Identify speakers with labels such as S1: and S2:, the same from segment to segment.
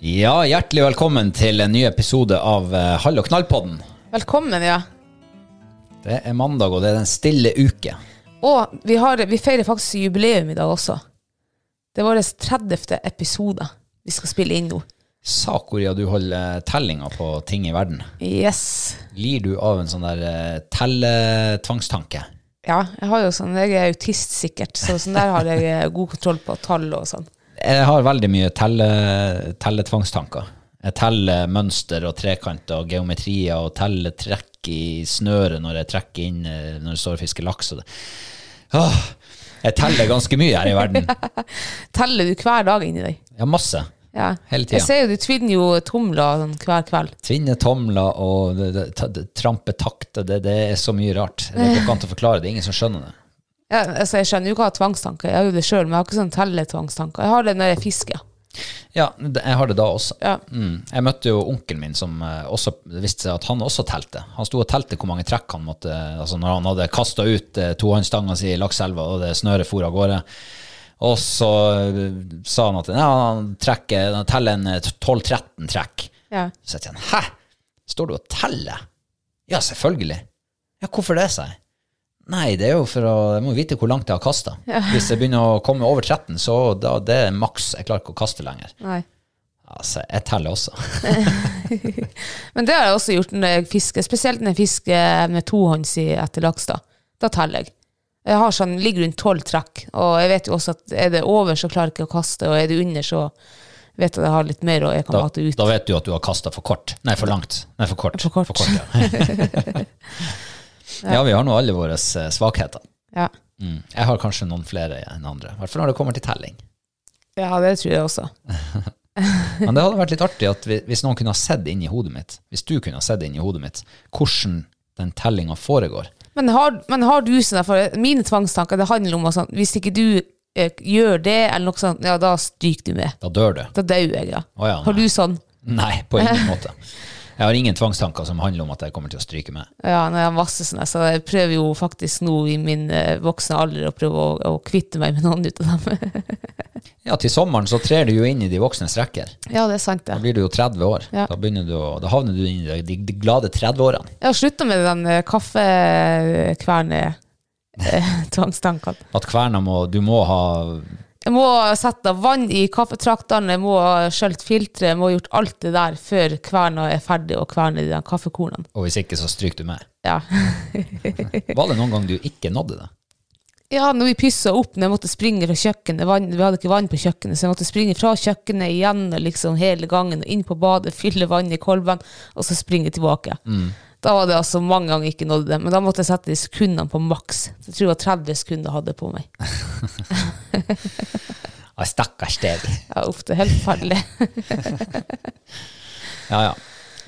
S1: Ja, hjertelig velkommen til en ny episode av eh, Hall og knall-podden.
S2: Velkommen, ja.
S1: Det er mandag, og det er en stille uke.
S2: Og vi, har, vi feirer faktisk jubileum i dag også. Det er vår 30. episode vi skal spille inn nå.
S1: Sakoria, du holder eh, tellinga på ting i verden.
S2: Yes.
S1: Lir du av en sånn der eh, telletvangstanke?
S2: Ja, jeg har jo sånn, jeg er autist sikkert, så sånn der har jeg eh, god kontroll på tall og sånn.
S1: Jeg har veldig mye telle, telletvangstanker. Jeg teller mønster og trekanter og geometrier og teller trekk i snøret når jeg trekker inn eh, når jeg står og fisker laks. Og det. Åh, jeg teller ganske mye her i verden.
S2: Teller du hver dag inni deg?
S1: Ja, masse.
S2: Ja.
S1: Hele tiden.
S2: Jeg ser jo du tvinner jo tomler sånn, hver kveld.
S1: Tvinne tomler og det- det- ta- det- trampe takter, det, det er så mye rart. Det går ikke an å forklare, det er ingen som skjønner det.
S2: Ja, altså, jeg skjønner jo ikke hva tvangstanker er, jeg har jo det sjøl, men jeg har ikke sånn telletvangstanker. Jeg har det når jeg fisker.
S1: Ja, det- jeg har det da også.
S2: Ja.
S1: Mm. Jeg møtte jo onkelen min som eh, også det viste seg at han også telte. Han sto og telte hvor mange trekk han måtte altså når han hadde kasta ut eh, tohåndsstanga si i lakseelva og det snøret for av gårde. Og så eh, sa han at ja, han, trekker, han teller en eh, 12-13 trekk.
S2: Ja.
S1: Så sier han, hæ? Står du og teller? Ja, selvfølgelig. Ja, hvorfor det, sier jeg. Nei, det er jo for å, jeg må vite hvor langt jeg har kastet. Hvis jeg begynner å komme over 13, så da, det er maks. Jeg klarer ikke å kaste lenger.
S2: Nei.
S1: Altså, jeg teller også.
S2: Men det har jeg også gjort når jeg fisker, spesielt når jeg fisker med tohånds i- etter laks. Da Da teller jeg. Jeg har sånn, ligger rundt tolv trekk, og jeg vet jo også at er det over, så klarer jeg ikke å kaste, og er det under, så vet jeg at jeg har litt mer, og jeg kan
S1: Da,
S2: mate ut.
S1: da vet du at du har kastet for kort. Nei, for langt. Nei, for kort.
S2: For kort.
S1: ja. ja, vi har nå alle våre eh, svakheter.
S2: Ja.
S1: Mm. Jeg har kanskje noen flere enn andre. I hvert fall når det kommer til telling.
S2: ja, det tror jeg også.
S1: Men det hadde vært litt artig at vi- hvis noen kunne ha sett inn i hodet mitt, hvis du kunne ha sett inn i hodet mitt, hvordan den tellinga foregår.
S2: Men har, men har du sånn, for mine tvangstanker, det handler om å sånn, hvis ikke du eh, gjør det, eller noe sånt, ja, da stryker du med.
S1: Da dør du.
S2: Da dauer jeg, ja.
S1: Å ja,
S2: Har
S1: nei.
S2: du sånn?
S1: Nei, på ingen måte. Jeg har ingen tvangstanker som handler om at jeg kommer til å stryke med.
S2: Ja, nei, jeg har masse sånne, så jeg prøver jo faktisk nå i min eh, voksne alder å prøve å, å kvitte meg med noen ut av dem.
S1: Ja, til sommeren så trer du jo inn i de voksnes rekker.
S2: ja, det er sant
S1: Da
S2: det.
S1: blir du jo 30 år.
S2: Ja.
S1: Da, begynner du å, da havner du inn i de, de, de glade 30-årene.
S2: Jeg har slutta med den eh, kaffekverne eh, tvangstankene.
S1: At kverna må Du må ha
S2: Jeg må sette vann i kaffetraktene, jeg må ha skjølt filtre, jeg må ha gjort alt det der før kverna er ferdig og kverner de der kaffekornene.
S1: Og hvis ikke, så stryker du med.
S2: Ja.
S1: Var det noen gang du ikke nådde det?
S2: ja, når vi pyssa opp når jeg måtte springe fra kjøkkenet, vann, vi hadde ikke vann på kjøkkenet, så jeg måtte springe fra kjøkkenet igjen og liksom hele gangen og inn på badet, fylle vann i kolben, og så springe tilbake. Da var det altså mange ganger jeg ikke nådde det, men da måtte jeg sette de sekundene på maks. Jeg tror det var 30 sekunder jeg hadde på meg.
S1: Nei, stakkars deg.
S2: Ja, uff, det er helt forferdelig.
S1: Ja, ja.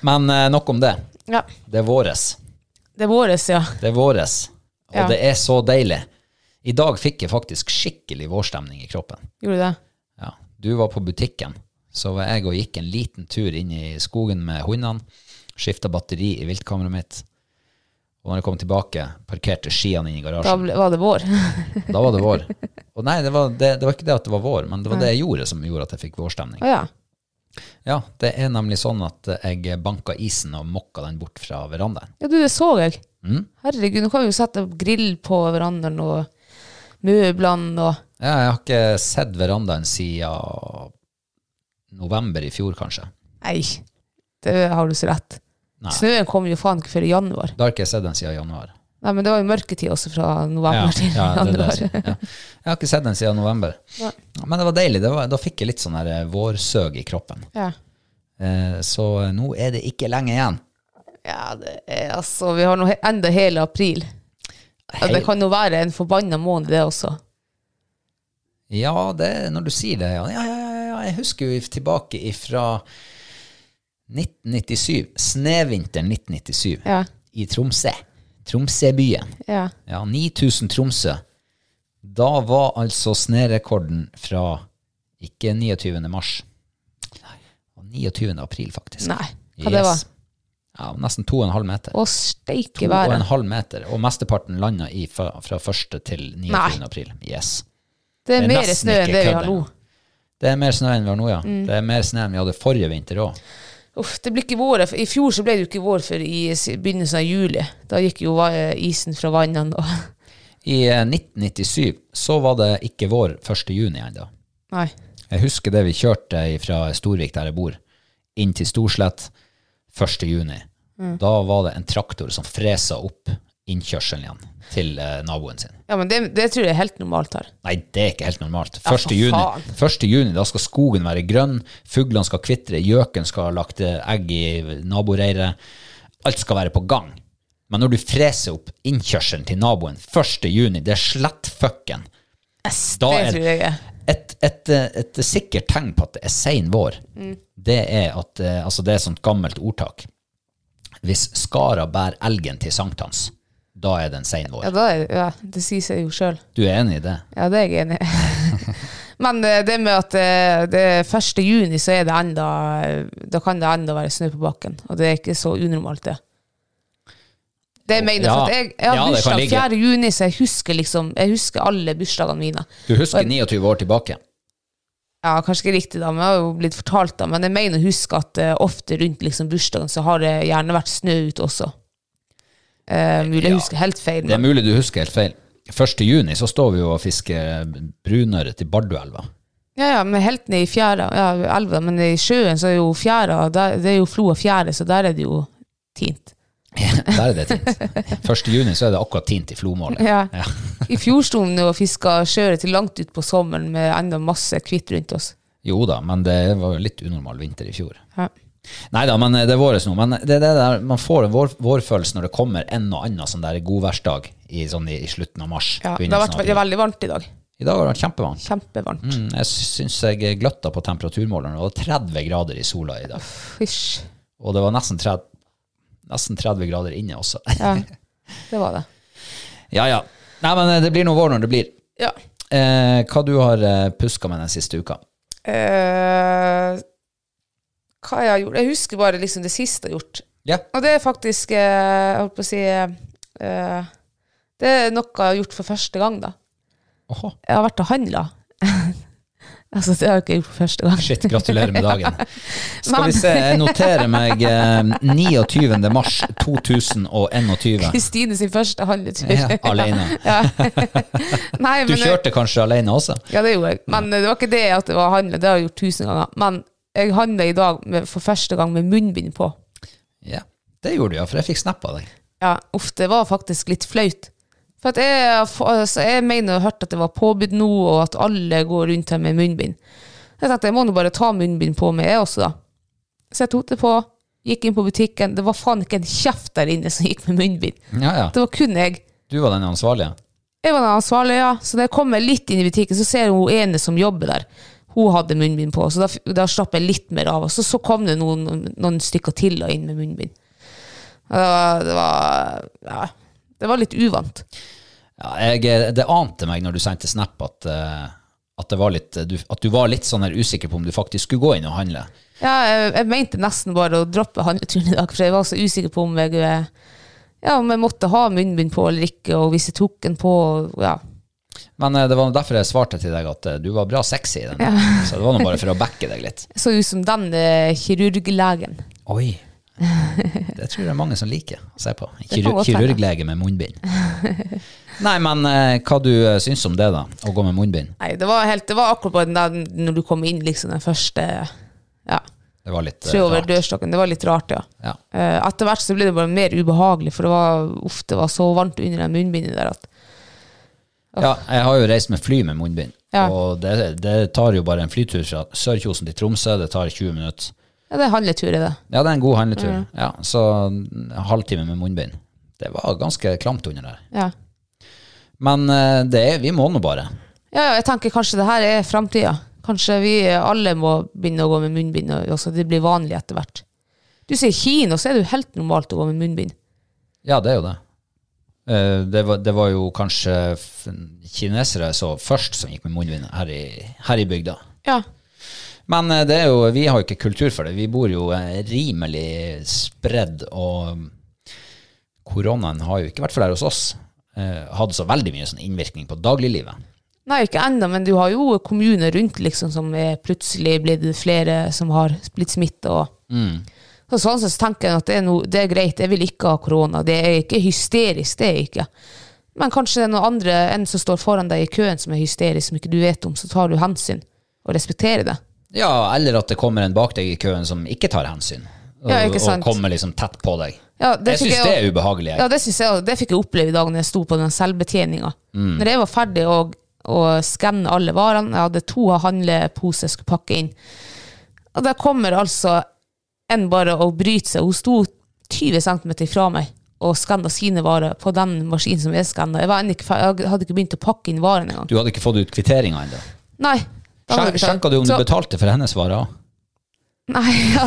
S1: Men eh, nok om det.
S2: ja.
S1: Det er våres.
S2: Det er våres, ja.
S1: Det er våres. Og
S2: Ja.
S1: det er så deilig. I dag fikk jeg faktisk skikkelig vårstemning i kroppen.
S2: Gjorde du det?
S1: Ja. Du var på butikken, så var jeg og gikk en liten tur inn i skogen med hundene. Skifta batteri i viltkameraet mitt. Og når jeg kom tilbake, parkerte skiene inn i
S2: Da
S1: garasjen.
S2: ble, var det vår.
S1: Da var det vår. Og nei, det var, det, det var ikke det at det var vår, men det var det jeg gjorde som gjorde at jeg fikk vårstemning.
S2: Å ja.
S1: Ja, det er nemlig sånn at jeg banka isen og mokka den bort fra verandaen.
S2: Ja, du, det så jeg.
S1: Mm.
S2: Herregud, nå kan vi jo sette opp grill på verandaen og møblene og
S1: Ja, jeg har ikke sett verandaen siden november i fjor, kanskje.
S2: Nei, det har du så rett.
S1: Nei.
S2: Snøen kom jo faen ikke før i januar.
S1: Da har ikke jeg sett den siden januar.
S2: Nei, men det var jo mørketid også fra november til
S1: det er det
S2: januar.
S1: jeg sier. ja. Jeg har ikke sett den siden november.
S2: Nei.
S1: Men det var deilig. Det var, da fikk jeg litt sånn her eh, vårsøg i kroppen.
S2: Ja.
S1: Eh, så nå er det ikke lenge igjen.
S2: ja, det er altså Vi har nå he- enda hele april. Ja,
S1: Hei-
S2: det kan jo være en forbanna måned, det også.
S1: Ja, det, er når du sier det. Ja, ja, ja, ja, ja. Jeg husker jo tilbake ifra 1997. Snevinteren 1997
S2: Ja.
S1: i Tromsø. Tromsøbyen.
S2: ja.
S1: Ja, 9000 Tromsø. Da var altså snerekorden fra ikke 29. mars, og 29. april, faktisk.
S2: Nei. Hva det var?
S1: Ja, nesten 2,5 meter.
S2: Å, steike
S1: Og en
S2: været.
S1: halv meter, og mesteparten landa i fra, fra 1. til 29.
S2: Nei.
S1: april. Yes.
S2: Det
S1: det
S2: er
S1: er
S2: mer
S1: nesten
S2: snø enn
S1: ikke
S2: det vi
S1: kødd
S2: har nå.
S1: engang. Det er mer snø enn vi har nå, ja.
S2: Mm.
S1: Det er mer snø enn vi hadde forrige vinter òg.
S2: Uff, det blir ikke vår. I fjor så ble det jo ikke vår før i s- begynnelsen av juli. Da gikk jo va- isen fra vannene og
S1: I eh, 1997 så var det ikke vår 1. juni ennå.
S2: Nei.
S1: Jeg husker det vi kjørte fra Storvik, der jeg bor, inn til Storslett 1. juni.
S2: Mm.
S1: Da var det en traktor som fresa opp innkjørselen igjen til eh, naboen sin.
S2: Ja, men det, det tror jeg er helt normalt her.
S1: Nei, det er ikke helt normalt.
S2: Ja,
S1: 1.
S2: for
S1: juni,
S2: faen.
S1: 1. juni, da skal skogen være grønn, fuglene skal kvitre, gjøken skal ha lagt eh, egg i naboreiret. Alt skal være på gang. Men når du freser opp innkjørselen til naboen 1. juni, det er slett fucken. Da
S2: det
S1: er-
S2: tror jeg er.
S1: Et, et, eh, et sikkert tegn på at det er sein vår,
S2: Mm.
S1: det er at eh, altså det er et sånt gammelt ordtak. Hvis skara bærer elgen til sankthans, da er det en sein
S2: Ja,
S1: vår.
S2: da er, ja, det sier seg jo sjøl.
S1: Du er enig i det?
S2: Ja, det er jeg enig i. Men eh, det med at eh, det er 1. juni, så er det enda eh, Da kan det enda være snø på bakken. Og det er ikke så unormalt, det. Det jeg mener
S1: Ja.
S2: for at jeg, jeg har
S1: Ja, det kan
S2: bursdag
S1: ligge.
S2: 4. juni, så jeg husker liksom Jeg husker alle bursdagene mine.
S1: Du husker 29 år tilbake?
S2: Ja, kanskje ikke riktig, da, men jeg har jo blitt fortalt da. Men jeg mener å huske at eh, ofte rundt liksom bursdagen så har det gjerne vært snø ute også. Eh, mulig jeg
S1: Ja.
S2: husker helt feil.
S1: Det er
S2: Men,
S1: mulig du husker helt feil. 1. juni så står vi jo og fisker brunøre til Barduelva.
S2: ja, ja, men helt ned i fjæra, ja, elva, men i sjøen så er jo fjæra, der, det er jo floa fjære, så der er det jo tint.
S1: Der er det tint. 1. juni så er det akkurat tint i flomålet.
S2: Ja. I fjor sto vi og fiska sjøørret til langt utpå sommeren med enda masse hvitt rundt oss.
S1: Jo da, men det var jo litt unormal vinter i fjor.
S2: Ja.
S1: Nei da, men det er våres nå. Men det er det der, man får en vår, vårfølelse når det kommer en og annen sånn der godværsdag i, sånn i, i slutten av mars.
S2: Ja, det har
S1: begynnelsen
S2: vært
S1: av
S2: veldig,
S1: april.
S2: veldig varmt i dag.
S1: I dag har det vært kjempevarmt.
S2: Kjempevarmt.
S1: Mm, jeg syns jeg gløtta på temperaturmåleren. og Det var 30 grader i sola i dag.
S2: Fysj.
S1: Og det var nesten 30, nesten 30 grader inne også.
S2: Ja, det var det.
S1: Ja, ja. Nei, men eh, det blir noe vår når det blir.
S2: Ja.
S1: Eh, hva du har eh, puska med den siste uka?
S2: Eh, hva jeg har gjort Jeg husker bare liksom det siste jeg har gjort.
S1: Ja.
S2: Og det er faktisk eh, Jeg holdt på å si eh, Det er noe jeg har gjort for første gang, da.
S1: Åhå.
S2: Jeg har vært og handla. Altså, det har jeg ikke gjort for første gang.
S1: Shit, gratulerer med dagen. Skal
S2: Men-
S1: vi se, jeg noterer meg eh, 29. mars 2021.
S2: Kristine sin første handletur.
S1: Ja, alene.
S2: Ja. Nei,
S1: Du
S2: men,
S1: kjørte kanskje alene også?
S2: Ja, det gjorde jeg. Men det var ikke det at det var handle, det har jeg gjort tusen ganger. Men jeg handla i dag med, for første gang med munnbind på.
S1: Ja, det gjorde du ja, for jeg fikk snap av deg.
S2: Ja, uff, det var faktisk litt flaut. For at jeg, altså, jeg mener jeg har hørt at det var påbud nå, og at alle går rundt her med munnbind. Jeg tenkte jeg må nå bare ta munnbind på meg, jeg også, da. Så jeg tok det på, gikk inn på butikken. Det var faen ikke en kjeft der inne som gikk med munnbind.
S1: Ja, ja.
S2: Det var kun jeg.
S1: Du var den ansvarlige.
S2: Jeg var den ansvarlige, ja. Så da jeg kommer litt inn i butikken, så ser jeg hun ene som jobber der. Hun hadde munnbind på, så da, f- da slapp jeg litt mer av. Og så, så kom det noen, noen stykker til og inn med munnbind. Og Det var, det var, ja, det var litt uvant.
S1: Ja, jeg, det ante meg når du sendte snap at, eh, at, det var litt, du, at du var litt sånn her usikker på om du faktisk skulle gå inn og handle.
S2: Ja, jeg, jeg mente nesten bare å droppe handleturen i dag, for jeg var så usikker på om jeg, eh, ja, om jeg måtte ha munnbind på eller ikke, og hvis jeg tok den på, og- ja.
S1: Men eh, det var derfor jeg svarte til deg at eh, du var bra sexy i den. Så det var nå bare for å backe deg litt.
S2: Jeg så ut som den eh, kirurglegen.
S1: Oi. Det tror jeg det er mange som liker å se på.
S2: kan
S1: Kirur
S2: godt hende.
S1: kirurglege med munnbind. Nei, men eh, hva du eh, syns om det, da? Å gå med munnbind?
S2: Nei, det var, helt, det var akkurat bare den der, når du kom inn, liksom, den første, ja.
S1: Det var litt eh,
S2: Tre over
S1: rart.
S2: dørstokken. Det var litt rart, ja.
S1: Ja.
S2: Eh, Etter hvert så ble det bare mer ubehagelig, for det var, uff, det var så varmt under det munnbindet der at
S1: ja, jeg har jo reist med fly med munnbind,
S2: Ja.
S1: og det, det tar jo bare en flytur fra Sørkjosen til Tromsø, det tar 20 minutter.
S2: Ja, det er handletur, er det.
S1: Ja, det er en god handletur. Ja, så en halvtime med munnbind. Det var ganske klamt under der.
S2: Ja.
S1: Men eh, det er, vi må nå bare.
S2: ja, ja, jeg tenker kanskje det her er framtida. Kanskje vi alle må begynne å gå med munnbind, og også det blir vanlig etter hvert. Du sier kino, så er det jo helt normalt å gå med munnbind.
S1: Ja, det er jo det. Eh, Det var, det var jo kanskje f- kinesere så først som gikk med munnbind her i, her i bygda.
S2: Ja.
S1: Men eh, det er jo, vi har jo ikke kultur for det. Vi bor jo eh, rimelig spredd, og mm, koronaen har jo ikke vært for der hos oss. eh, Hadde så veldig mye sånn innvirkning på dagliglivet.
S2: Nei, ikke ennå, men du har jo kommuner rundt liksom, som er plutselig blitt flere som har blitt smitta.
S1: Mm.
S2: Så sånn sett så tenker jeg at det er, noe, det er greit, jeg vil ikke ha korona. Det er ikke hysterisk, det er jeg ikke. Men kanskje det er noen andre enn som står foran deg i køen som er hysterisk, som ikke du vet om, så tar du hensyn og respekterer det.
S1: Ja, eller at det kommer en bak deg i køen som ikke tar hensyn. Og,
S2: Ja, ikke sant.
S1: og kommer liksom tett på deg.
S2: Ja, det
S1: jeg
S2: fikk
S1: syns
S2: jeg
S1: det
S2: jo-
S1: er ubehagelig. jeg.
S2: Ja, det, synes jeg, det fikk jeg oppleve i dag når jeg sto på den selvbetjeninga.
S1: Mm.
S2: Når jeg var ferdig å å skanne alle varene, jeg hadde to handleposer jeg skulle pakke inn. Og der kommer altså en bare og bryter seg. Hun sto 20 cm fra meg og skanna sine varer på den maskinen som jeg skanna. Jeg, var ennå ikke fer- jeg hadde ikke begynt å pakke inn varene engang.
S1: Du hadde ikke fått ut kvitteringa ennå.
S2: Nei. da hadde jeg ikke-
S1: Sjekka du om du
S2: Så-
S1: betalte for hennes varer? også?
S2: Nei. Ja.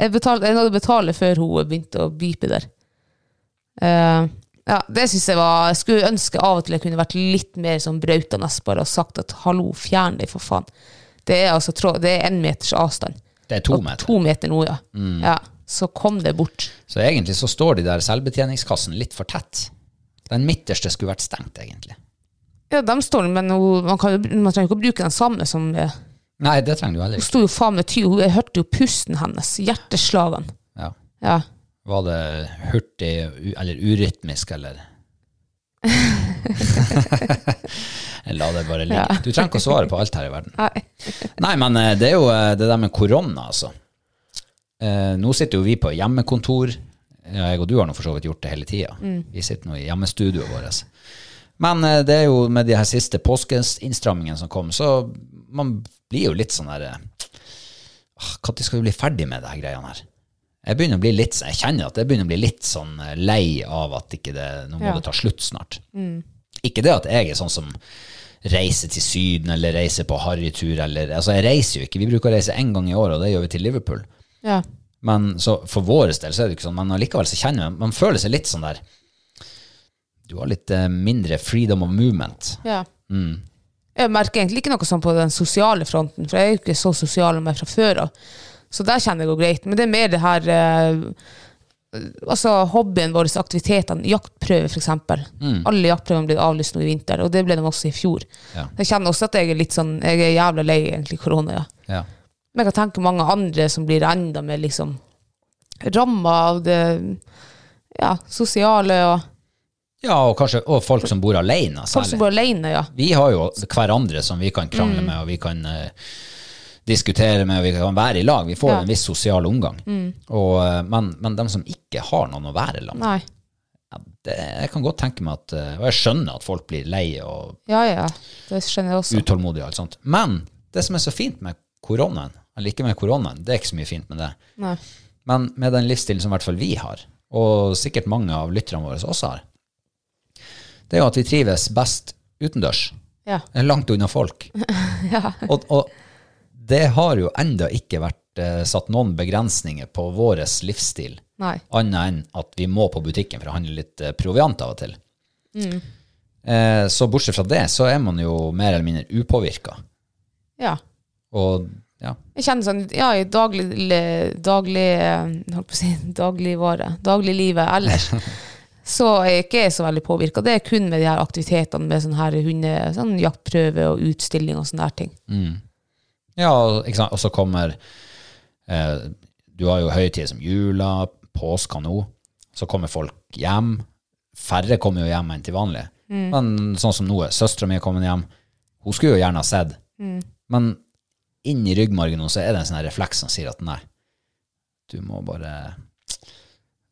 S2: Jeg, betalte, jeg hadde betalt før hun begynte å bype der. Eh, ja, det synes jeg var Jeg skulle ønske av og til jeg kunne vært litt mer sånn brautende bare og sagt at hallo, fjern deg, for faen. Det er altså trå- det er én meters avstand.
S1: Det er to
S2: Og
S1: meter. Mm.
S2: To meter nå, ja. ja. Så kom det bort.
S1: Så egentlig så står de der selvbetjeningskassene litt for tett. Den midterste skulle vært stengt, egentlig.
S2: Ja, de står men hun, man, kan, jo- man trenger ikke å bruke den samme som eh,
S1: Nei, det trenger du heller
S2: Hun
S1: ikke.
S2: sto jo faen meg ty, hun- jeg hørte jo pusten hennes, hjerteslagene.
S1: Ja.
S2: Ja.
S1: Var det hurtig u- eller urytmisk, eller Jeg La det bare ligge. Du trenger ikke å svare på alt her i verden.
S2: Nei.
S1: Nei, men eh, det er jo eh, det der med korona, altså. Eh, nå sitter jo vi på hjemmekontor. Ja, Jeg og du har nå for så vidt gjort det hele tida. Vi sitter nå i hjemmestudioet vårt. Men eh, det er jo med de her siste påskeinnstrammingene som kom, så man blir jo litt sånn der Når skal vi bli ferdig med det her greiene her? Jeg begynner å bli litt, sånn, jeg kjenner at jeg begynner å bli litt sånn eh, lei av at ikke det, nå må
S2: Ja.
S1: det ta slutt snart. Ikke det at jeg er sånn som reiser til Syden eller reiser på harrytur eller Altså, jeg reiser jo ikke. Vi bruker å reise én gang i året, og det gjør vi til Liverpool.
S2: Ja.
S1: Men så for vår del så er det jo ikke sånn, men allikevel så kjenner jeg Man føler seg litt sånn der Du har litt eh, mindre freedom of movement.
S2: Ja.
S1: Mm.
S2: Jeg merker egentlig ikke noe sånn på den sosiale fronten, for jeg er jo ikke så sosial med fra før av. Så der kjenner jeg det går greit. Men det er mer det her eh, altså hobbyen vår, aktivitetene, jaktprøver f.eks.
S1: Mm.
S2: Alle jaktprøvene ble avlyst nå i vinter, og det ble de også i fjor.
S1: Ja.
S2: Jeg kjenner også at jeg er litt sånn, jeg er jævla lei egentlig korona, ja.
S1: Ja.
S2: Men jeg kan tenke mange andre som blir enda mer liksom ramma av det ja, sosiale og
S1: ja, og kanskje og folk som bor alene,
S2: Folk som
S1: særlig.
S2: bor Mm. alene, ja.
S1: Vi har jo hverandre som vi kan krangle med, og vi kan eh, diskutere med, og vi kan være i lag. Vi får
S2: Ja. Mm.
S1: en viss sosial omgang. Og, eh, men, men de som ikke har noen å være i lag med,
S2: Nei.
S1: det, jeg kan godt tenke meg at eh, Og jeg skjønner at folk blir lei og
S2: Ja, ja. Det skjønner jeg også.
S1: utålmodige og alt sånt. Men det som er så fint med koronaen, eller ikke med koronaen, det er ikke så mye fint med det,
S2: Nei.
S1: men med den livsstilen som i hvert fall vi har, og sikkert mange av lytterne våre også har, det er jo at vi trives best utendørs. eh,
S2: Ja.
S1: Langt unna folk. og, og det har jo enda ikke vært eh, satt noen begrensninger på våres livsstil,
S2: Nei.
S1: annet enn at vi må på butikken for å handle litt eh, proviant av og til. Eh, så bortsett fra det, så er man jo mer eller mindre upåvirka.
S2: Ja.
S1: Og ja,
S2: Jeg kjenner sånn Ja, i daglig, le- daglig eh, Holdt på å si dagligvare. Dagliglivet ellers. Så er jeg ikke så veldig påvirka. Det er kun med de her aktivitetene med sånn her hunde, sånn jaktprøve og utstilling og sånne her ting.
S1: ja og- ikke sant? og så kommer eh, Du har jo høytider som jula, påska nå. Så kommer folk hjem. Færre kommer jo hjem enn til vanlig.
S2: Mm.
S1: Men sånn som nå er søstera mi kommet hjem. Hun skulle jo gjerne ha sett.
S2: Mm.
S1: Men inni ryggmargen nå så er det en sånn her refleks som sier at nei, du må bare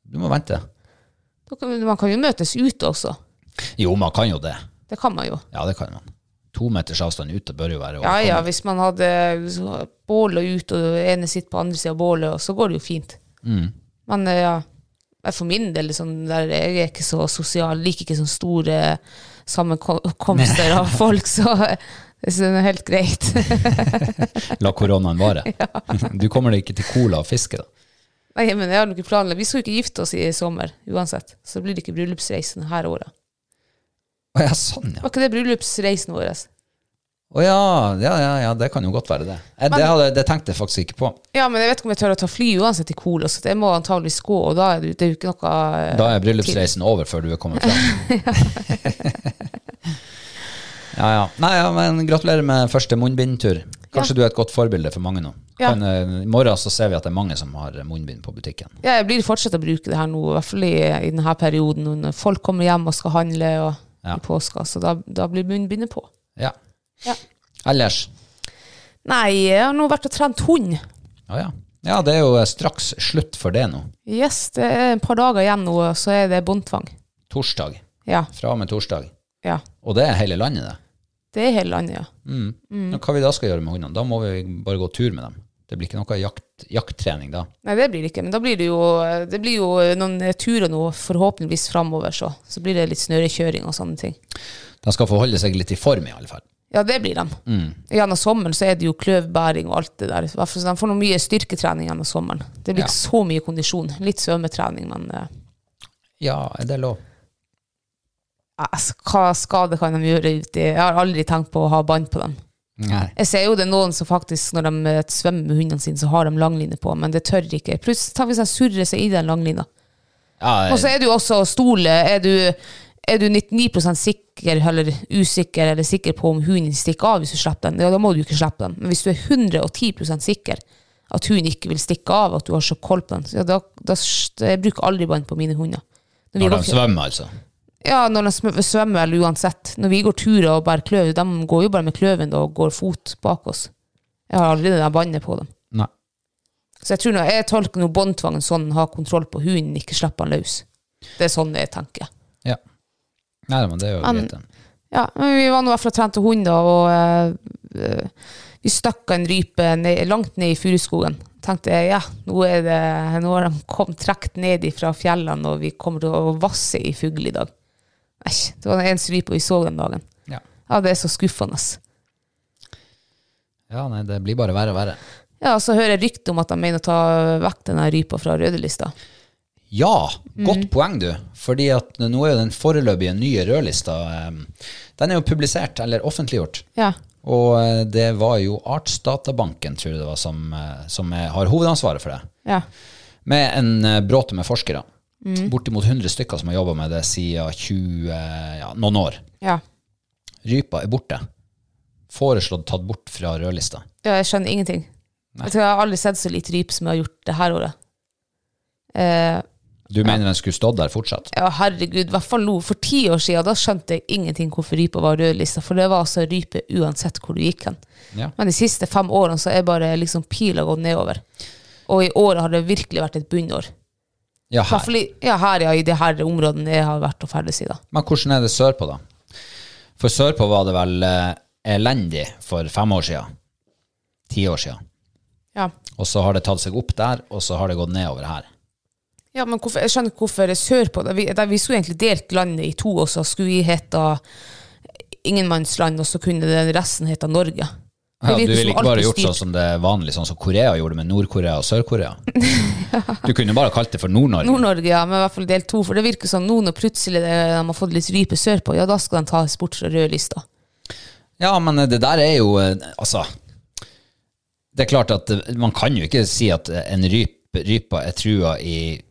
S1: Du må vente.
S2: Da kan- Man kan jo møtes ute også.
S1: Jo, man kan jo det.
S2: Det kan man jo.
S1: Ja, det kan man. To meters avstand ute bør jo være
S2: Ja, ja,
S1: overkommelig.
S2: hvis man hadde så- bålet ut, og det ene sitter på andre sida av bålet, og så går det jo fint.
S1: Mm.
S2: Men eh, ja, jeg for min del sånn der, jeg er ikke så sosial, liker ikke sånne store sammenkomster av folk, så eh, jeg synes det er helt greit.
S1: La koronaen vare. Du kommer deg ikke til cola og fiske, da.
S2: Nei, men jeg har noen planer. Vi skal jo ikke gifte oss i sommer, uansett. Så blir det ikke bryllupsreisen her året.
S1: Å ja, sånn, ja.
S2: Var ikke det bryllupsreisen vår?
S1: Å ja, ja, ja, ja, det kan jo godt være det. Eh, Det, hadde, det tenkte jeg faktisk ikke på.
S2: Ja, men jeg vet ikke om jeg tør å ta fly uansett i Kola, så det må antageligvis gå, og da er det, jo- det er jo ikke noe... eh,
S1: Da er bryllupsreisen over før du er kommet fram. ja, ja. Nei, ja, men gratulerer med første munnbindtur. Kanskje du er et godt forbilde for mange nå.
S2: Ja.
S1: Kan, eh, I morgen så ser vi at det er mange som har munnbind på butikken.
S2: Ja, jeg blir fortsatt å bruke det her nå, i hvert fall i, i denne perioden når folk kommer hjem og skal handle og,
S1: Ja.
S2: i påska, så da, da blir munnbindet på.
S1: Ja.
S2: Ja.
S1: Ellers
S2: Nei, jeg har nå vært og trent hund.
S1: Ja, ja. Ja, det er jo eh, straks slutt for det nå.
S2: Yes, det er et par dager igjen nå, så er det båndtvang.
S1: Torsdag.
S2: Ja,
S1: Fra og med torsdag.
S2: ja.
S1: Og det er hele landet, det.
S2: Det er hele landet, ja.
S1: Mm.
S2: Mm.
S1: Men Hva vi da skal gjøre med hundene? Da må vi bare gå tur med dem. Det blir ikke noe jakt, jakttrening da.
S2: Nei, det blir det ikke, men da blir det jo, det blir jo noen turer nå, forhåpentligvis fremover, så, så blir det litt snørekjøring og sånne ting.
S1: De skal forholde seg litt i form i alle fall.
S2: Ja, det blir de. Gjennom sommeren så er det jo kløvbæring og alt det der. Hvert fall Så de får noe mye styrketrening gjennom sommeren. Det blir
S1: Ja.
S2: ikke så mye kondisjon. Litt svømmetrening, men eh,
S1: Ja, er det lov?
S2: altså, hva skade kan de gjøre ute? i- Jeg har aldri tenkt på å ha bånd på dem.
S1: Nei.
S2: Jeg ser jo det er noen som faktisk, når de eh, svømmer med hundene sine, så har de langline på, men det tør ikke. Pluss, tenk hvis de surrer seg i den langlina.
S1: Ja,
S2: Og så er det jo også å stole. Er du, er du 99 sikker eller usikker eller sikker på om hunden stikker av hvis du slipper den, ja, da må du ikke slippe den. Men hvis du er 110 sikker at hunden ikke vil stikke av, at du har så koll på den, så ja, da, da s- jeg bruker jeg aldri bånd på mine hunder. Når vi
S1: når de
S2: går-
S1: svømmer altså.
S2: ja, når de sm- svømmer eller uansett. Når vi går turer og bærer kløv, de går jo bare med kløven da, og går fot bak oss. Jeg har aldri det der båndet på dem.
S1: Nei.
S2: Så jeg tror nå, jeg tolker nå båndtvangen sånn, ha kontroll på hunden, ikke slippe han løs. Det er sånn jeg tenker.
S1: Ja. Nei, men det er jo
S2: Men-
S1: greit. det.
S2: Ja, men vi var nå i hvert fall og trente hund, da, og eh, eh, vi stakk en rype ned, langt ned i furuskogen. Tenkte jeg, ja, nå, er det, nå har de kommet trukket ned fra fjellene, og vi kommer til å vasse i fugl i dag. Æsj, det var den eneste rypa vi så den dagen.
S1: Ja.
S2: Ja, det er så skuffende.
S1: ja, nei, det blir bare verre og verre.
S2: Ja, og så hører jeg rykte om at de mener å ta vekk denne rypa fra rødlista.
S1: Ja,
S2: Mm.
S1: godt poeng du. Fordi at nå er jo den foreløpige nye rødlista, em, den er jo publisert eller offentliggjort.
S2: Ja.
S1: Og eh, det var jo Artsdatabanken, tror jeg det var, som, eh, som eh, har hovedansvaret for det.
S2: Ja.
S1: Med en eh, bråte med forskere.
S2: Mm.
S1: Bortimot 100 stykker som har jobba med det siden 20, ja, noen år.
S2: Ja.
S1: Rypa er borte. Foreslått tatt bort fra rødlista.
S2: ja, jeg skjønner ingenting. Jeg tror jeg har aldri sett så lite ryp som jeg har gjort det her året. Eh,
S1: Du mener den skulle stått der fortsatt?
S2: ja, herregud, i hvert fall nå. For ti år siden, da skjønte jeg ingenting hvorfor rypa var rødlista, for det var altså rype uansett hvor du gikk hen.
S1: Ja.
S2: Men de siste fem årene så er bare liksom pila gått nedover. Og i år har det virkelig vært et bunnår.
S1: Ja,
S2: Her.
S1: her.
S2: Ja, her ja, i de her områdene jeg har vært og ferdes i, da.
S1: Men hvordan er det sørpå, da? For sørpå var det vel eh, elendig for fem år siden. Ti år siden.
S2: Ja.
S1: Og så har det tatt seg opp der, og så har det gått nedover her.
S2: Ja, men hvorfor, jeg skjønner ikke hvorfor det er sørpå. Da vi, da vi skulle egentlig delt landet i to, og så skulle vi hete ingenmannsland, og så kunne den resten hete Norge. Det
S1: Ja,
S2: virker
S1: du ville
S2: som
S1: ikke
S2: alt
S1: bare
S2: er
S1: gjort
S2: styrt.
S1: sånn som det er vanlig, sånn som Korea gjorde med Nord-Korea og Sør-Korea. Du kunne bare kalt det for Nord-Norge.
S2: Nord-Norge, ja, men i hvert fall del to. For det virker som nå når plutselig det, de har fått litt rype sørpå, ja, da skal de tas bort fra rødlista.
S1: Ja, men det der er jo eh, Altså. Det er klart at eh, man kan jo ikke si at eh, en ryp, rypa er trua i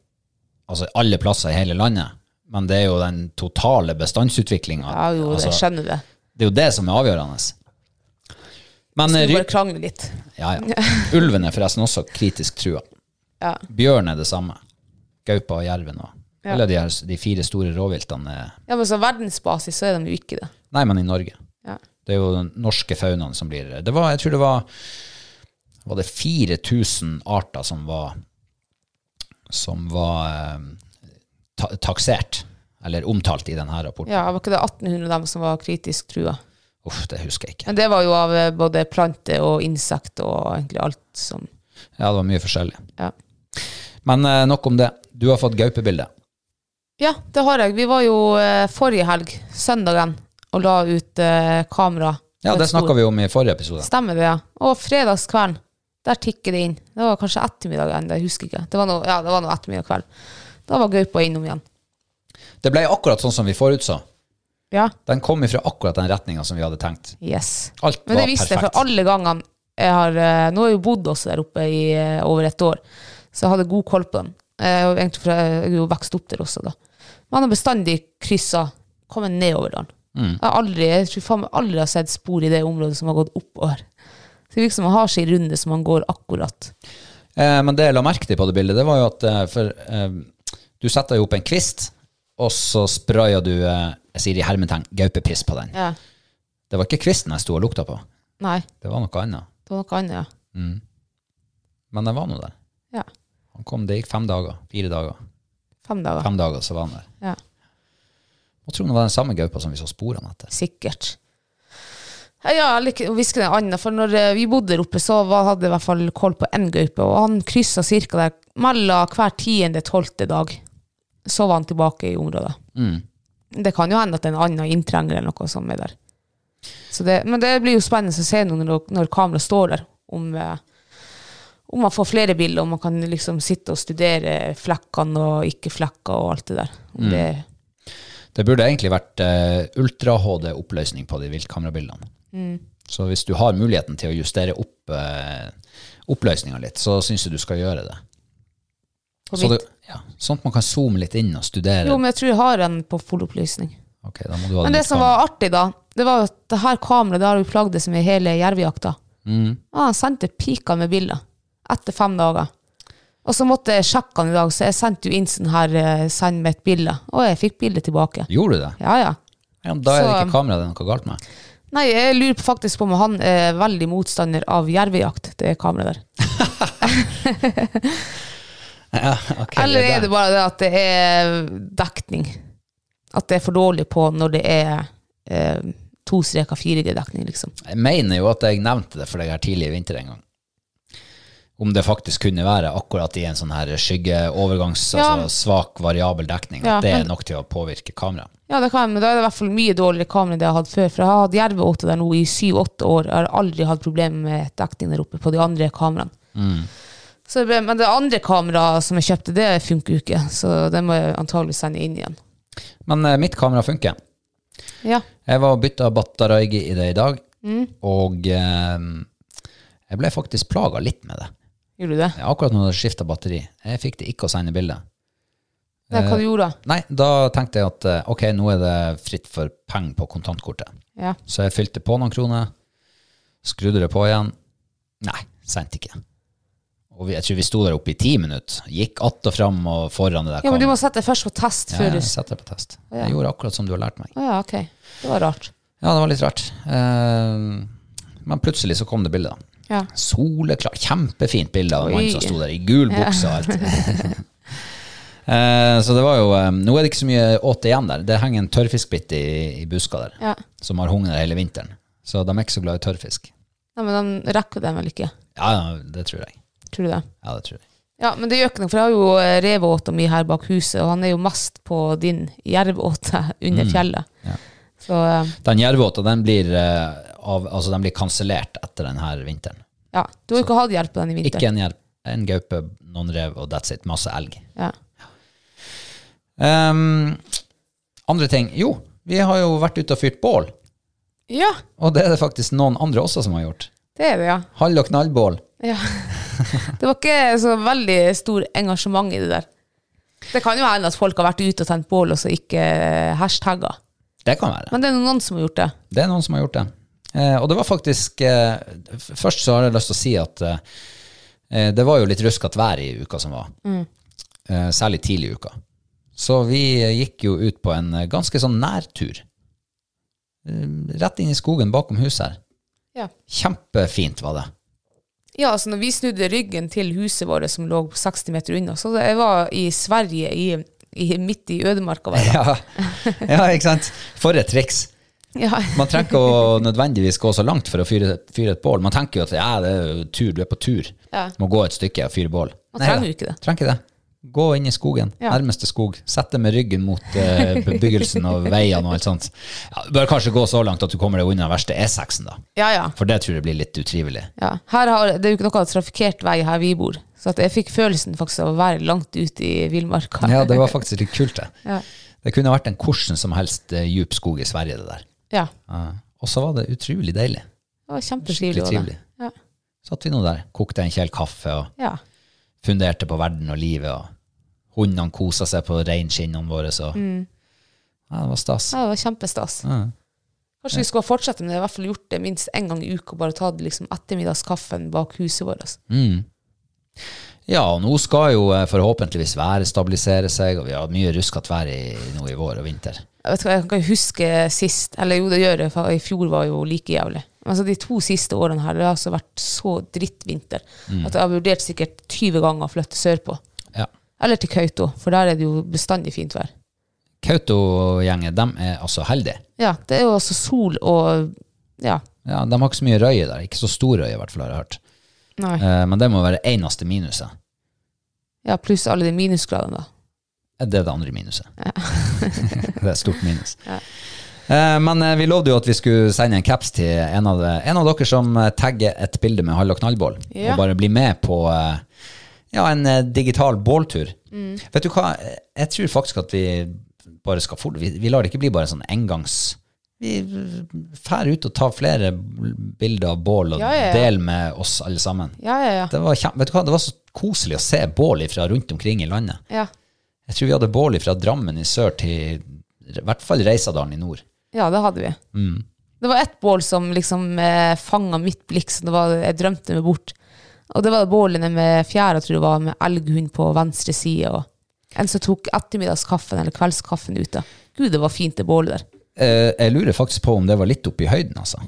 S1: altså alle plasser i hele landet, men det er jo den totale bestandsutviklinga.
S2: Ja, jo, jeg
S1: altså,
S2: skjønner det.
S1: det er jo det som er avgjørende. Men eh,
S2: Skal vi bare
S1: ryp,
S2: krangle litt.
S1: ja, ja. ulven er forresten også kritisk trua.
S2: Ja.
S1: Bjørn er det samme. Gaupa og jerven og
S2: Ja.
S1: Eller de, her, de fire store rovviltene. er-
S2: ja, men så verdensbasis så er de jo ikke det.
S1: Nei, men i Norge.
S2: Ja.
S1: Det er jo den norske faunaen som blir det var, Jeg tror det var Var det 4000 arter som var Som var eh, ta, taksert, eller omtalt i denne rapporten.
S2: Ja, var ikke det 1800 av dem som var kritisk trua?
S1: Uff, det husker jeg ikke.
S2: Men det var jo av eh, både planter og insekter og egentlig alt som
S1: Ja, det var mye forskjellig.
S2: Ja.
S1: Men eh, nok om det. Du har fått gaupebilde.
S2: Ja, det har jeg. Vi var jo eh, forrige helg, søndagen, og la ut eh, kamera.
S1: Ja, det snakka vi om i forrige episode.
S2: Stemmer det, ja. Og fredagskvelden, der tikker det inn. Det var kanskje ettermiddagen, jeg husker ikke. Det var noe, ja, det var noe ettermiddag kveld. Da var gaupa innom igjen.
S1: Det ble akkurat sånn som vi forutså.
S2: Ja,
S1: Den kom ifra akkurat den retninga som vi hadde tenkt.
S2: yes.
S1: Alt
S2: Men
S1: var
S2: det visste jeg,
S1: perfekt.
S2: for alle gangene jeg har eh, Nå har jeg jo bodd også der oppe i eh, over et år, så jeg hadde god koll på dem. Jeg er jo egentlig fra, jeg er jo vokst opp der også, da. Men han har bestandig kryssa, kommet nedover dalen.
S1: Mm.
S2: Jeg, har aldri, jeg tror faen meg aldri har sett spor i det området som har gått oppover. Så det virker som han har sin runde som han går akkurat.
S1: Eh, men det jeg la merke til på det bildet, det var jo at eh, for, eh, du setter jo opp en kvist, og så sprayer du eh, jeg sier i hermetegn gaupepiss på den.
S2: Ja.
S1: Det var ikke kvisten jeg sto og lukta på,
S2: Nei,
S1: det var noe annet.
S2: det var noe annet,
S1: Men den var nå der.
S2: ja. ja.
S1: Han kom, det gikk fem dager, fire dager.
S2: Fem dager.
S1: Fem dager, så var han der.
S2: Ja.
S1: Jeg tror det var den samme gaupa som vi så sporene etter.
S2: Sikkert. Ja, jeg liker å hviske det annet, for når eh, vi bodde der oppe, så var, hadde jeg i hvert fall koll på én gaupe, og han kryssa cirka der mellom hver tiende-tolvte dag. Så var han tilbake i området.
S1: Mm.
S2: Det kan jo hende at det er en annen inntrenger eller noe som er der. Så det, men det blir jo spennende å se nå når, når kameraet står der, om, eh, om man får flere bilder, om man kan liksom sitte og studere flekkene og ikke flekker og alt det der.
S1: Mm.
S2: Om det,
S1: Det burde egentlig vært eh, ultra-HD-oppløsning på de viltkamerabildene.
S2: Mm.
S1: Så hvis du har muligheten til å justere opp eh, oppløsninga litt, så syns jeg du skal gjøre det.
S2: på
S1: Så
S2: mitt-
S1: det, ja, sånn at man kan zoome litt inn og studere.
S2: Jo, men jeg tror jeg har en på fullopplysning.
S1: Ok, da må du ha
S2: Men
S1: den
S2: det som
S1: utgaven.
S2: var artig, da, det var jo at det her kameraet det har jo plagd det som i hele jervejakta.
S1: mm.
S2: Og han sendte pika med bilder etter fem dager. Og så måtte jeg sjekke han i dag, så jeg sendte jo inn sånn her eh, Send meg et bilde. Og jeg fikk bildet tilbake.
S1: Gjorde du det?
S2: Ja, ja.
S1: Ja, da er det
S2: Så-
S1: ikke kameraet det er noe galt med.
S2: Nei, jeg lurer på faktisk på om han er veldig motstander av jervejakt, det kameraet der.
S1: Ok,
S2: Eller
S1: det
S2: er
S1: der.
S2: det bare det at det er dekning? At det er for dårlig på når det er eh, to streker 4G-dekning, liksom.
S1: Jeg mener jo at jeg nevnte det for deg her tidlig i vinter en gang. Om det faktisk kunne være akkurat i en sånn her skyggeovergangs,
S2: Ja.
S1: altså svak variabel dekning,
S2: Ja,
S1: at det er
S2: men-
S1: nok til å påvirke kameraet.
S2: Ja, det kan, men da er det i hvert fall mye dårligere kamera enn det jeg har hatt før. For jeg har hatt jerveåte der nå i syv-åtte år. Jeg har aldri hatt problemer med dekning der oppe på de andre kameraene.
S1: Mm.
S2: Så det ble, men det andre kameraet som jeg kjøpte, det funker jo ikke. Så det må jeg antagelig sende inn igjen.
S1: Men eh, mitt kamera funker.
S2: Ja,
S1: Jeg var og bytta Battaraigi i det i dag,
S2: Mm.
S1: og eh, jeg ble faktisk plaga litt med det.
S2: gjorde du det?
S1: Akkurat når jeg skifta batteri. Jeg fikk det ikke å sende bilde.
S2: Nei, hva du gjorde da?
S1: Nei, da tenkte jeg at eh, ok, nå er det fritt for penger på kontantkortet.
S2: Ja.
S1: Så jeg fylte på noen kroner, skrudde det på igjen. Nei, sendte ikke. Og vi, jeg tror vi sto der oppe i ti minutter. Gikk att og fram og foran det der
S2: ja, men du må
S1: kameraet.
S2: sette først på test
S1: Ja,
S2: før du
S1: jeg setter det på test. Jeg gjorde akkurat som du har lært meg.
S2: Å ja, ok. Det var rart.
S1: Ja, det var litt rart. Eh, men plutselig så kom det bildet. da.
S2: Ja.
S1: Soleklar, kjempefint bilde av en
S2: Oi.
S1: mann som sto der i gul bukse og alt. Eh, Så det var jo eh, Nå er det ikke så mye åt igjen der. Det henger en tørrfiskbit i, i buska der,
S2: Ja.
S1: som har hungret hele vinteren. Så de er ikke så glad i tørrfisk.
S2: Nei, men de rekker den vel ikke?
S1: Ja, ja, det tror jeg.
S2: Tror du det?
S1: Ja, det tror jeg.
S2: Ja, men det gjør ikke noe, for jeg har jo eh, revåta mi her bak huset, og han er jo mest på din jervåte
S1: Mm,
S2: under fjellet. Så eh,
S1: Den jervåta, den blir, eh, av- altså, den blir kansellert etter denne vinteren.
S2: ja, du har jo ikke hatt hjelp på den i vinter.
S1: Ikke en jerv, en gaupe, noen rev og that's it. Masse elg.
S2: Ja.
S1: Ehm, andre ting. Jo, vi har jo vært ute og fyrt bål.
S2: ja,
S1: Og det er det faktisk noen andre også som har gjort.
S2: det er det, ja.
S1: Hall- og knallbål.
S2: ja. Det var ikke så veldig stor engasjement i det der. Det kan jo hende at folk har vært ute og tent bål, og så ikke hashtagga.
S1: Det kan være.
S2: Men det er noen som har gjort det.
S1: Det er noen som har gjort det. Eh, og det var faktisk eh, f- Først så har jeg lyst til å si at eh, det var jo litt ruskete vær i uka som var. Eh, særlig tidlig i uka. Så vi eh, gikk jo ut på en eh, ganske sånn nærtur. Eh, Rett inn i skogen bakom huset her.
S2: Ja.
S1: Kjempefint var det.
S2: Ja, altså når vi snudde ryggen til huset vårt som lå 60 meter unna, så jeg var i Sverige, i, i, midt i ødemarka. var jeg da.
S1: Ja, ja ikke sant? For et triks.
S2: Ja.
S1: Man trenger ikke å nødvendigvis gå så langt for å fyre, fyre et bål. Man tenker jo at ja, det er jo tur, du er på tur.
S2: Ja.
S1: Må gå et stykke og fyre bål.
S2: Man
S1: Nei
S2: trenger
S1: da,
S2: jo ikke det.
S1: Trenger ikke det. Gå inn i skogen,
S2: Ja.
S1: nærmeste skog. Sett deg med ryggen mot eh, bebyggelsen og veiene og alt sånt. Ja, du bør kanskje gå så langt at du kommer deg unna den verste E6-en, da.
S2: Ja, ja.
S1: For det tror jeg blir litt utrivelig.
S2: ja. Her har, det er jo ikke noe trafikkert vei her vi bor, så at jeg fikk følelsen faktisk av å være langt ute i villmarka.
S1: Ja, det var faktisk litt kult, det.
S2: Ja.
S1: Det kunne vært en hvordan som helst eh, djup skog i Sverige, det der.
S2: Ja,
S1: Ja. Og så var det utrolig deilig.
S2: det var
S1: Skikkelig
S2: kjempetrivelig. var
S1: trivelig.
S2: det. Ja.
S1: Satt vi nå der, kokte en kjel kaffe og
S2: Ja.
S1: funderte på verden og livet, og hundene kosa seg på reinskinnene våre, så ja, det var stas.
S2: ja, det var kjempestas.
S1: Ja.
S2: Kanskje vi skulle ha fortsatt med det, i hvert fall gjort det minst en gang i uka, og bare tatt liksom ettermiddagskaffen bak huset vårt. altså.
S1: Mm. Ja, og nå skal jo eh, forhåpentligvis været stabilisere seg, og vi har hatt mye ruskete vær i, nå i vår og vinter.
S2: Jeg vet ikke, jeg kan ikke huske sist, eller jo det gjør jeg, for i fjor var jo like jævlig. Men Altså, de to siste årene her, det har altså vært så drittvinter,
S1: Mm.
S2: at jeg har vurdert sikkert 20 ganger å flytte sørpå.
S1: Ja.
S2: Eller til Kauto, for der er det jo bestandig fint vær.
S1: Kautokeino-gjengen, de er altså heldige.
S2: Ja, det er jo altså sol og, ja.
S1: Ja, de har ikke så mye røye der, ikke så stor røye i hvert fall har jeg hørt.
S2: Nei.
S1: Eh, Men det må være eneste minuset.
S2: Ja, pluss alle de minusgradene da.
S1: Eh, Det er det andre minuset. det er et stort minus. Eh, Men eh, vi lovde jo at vi skulle sende en caps til en av, de- en av dere som eh, tagger et bilde med hall og knallbål,
S2: Ja.
S1: og bare blir med på eh, ja, en eh, digital båltur.
S2: Mm.
S1: Vet du hva, Eh, jeg tror faktisk at vi bare skal fort, vi, vi lar det ikke bli bare sånn engangs... Vi fær ut og tar flere bilder av bål og
S2: Ja, ja, ja.
S1: del med oss alle sammen.
S2: Ja, ja, ja.
S1: Det var, kjem- vet du hva, det var så koselig å se bål fra rundt omkring i landet.
S2: Ja,
S1: Jeg tror vi hadde bål fra Drammen i sør til i hvert fall Reisadalen i nord.
S2: ja det hadde vi. Det var et bål som liksom eh, fanget mitt blikk, så det var, jeg drømte meg bort. Og det var bålene med fjæra, tror jeg det var, med elghund på venstre side, og en som tok ettermiddagskaffen eller kveldskaffen ute. Gud, det var fint det bålet der.
S1: Eh, jeg lurer faktisk på om det var litt oppe i høyden, altså.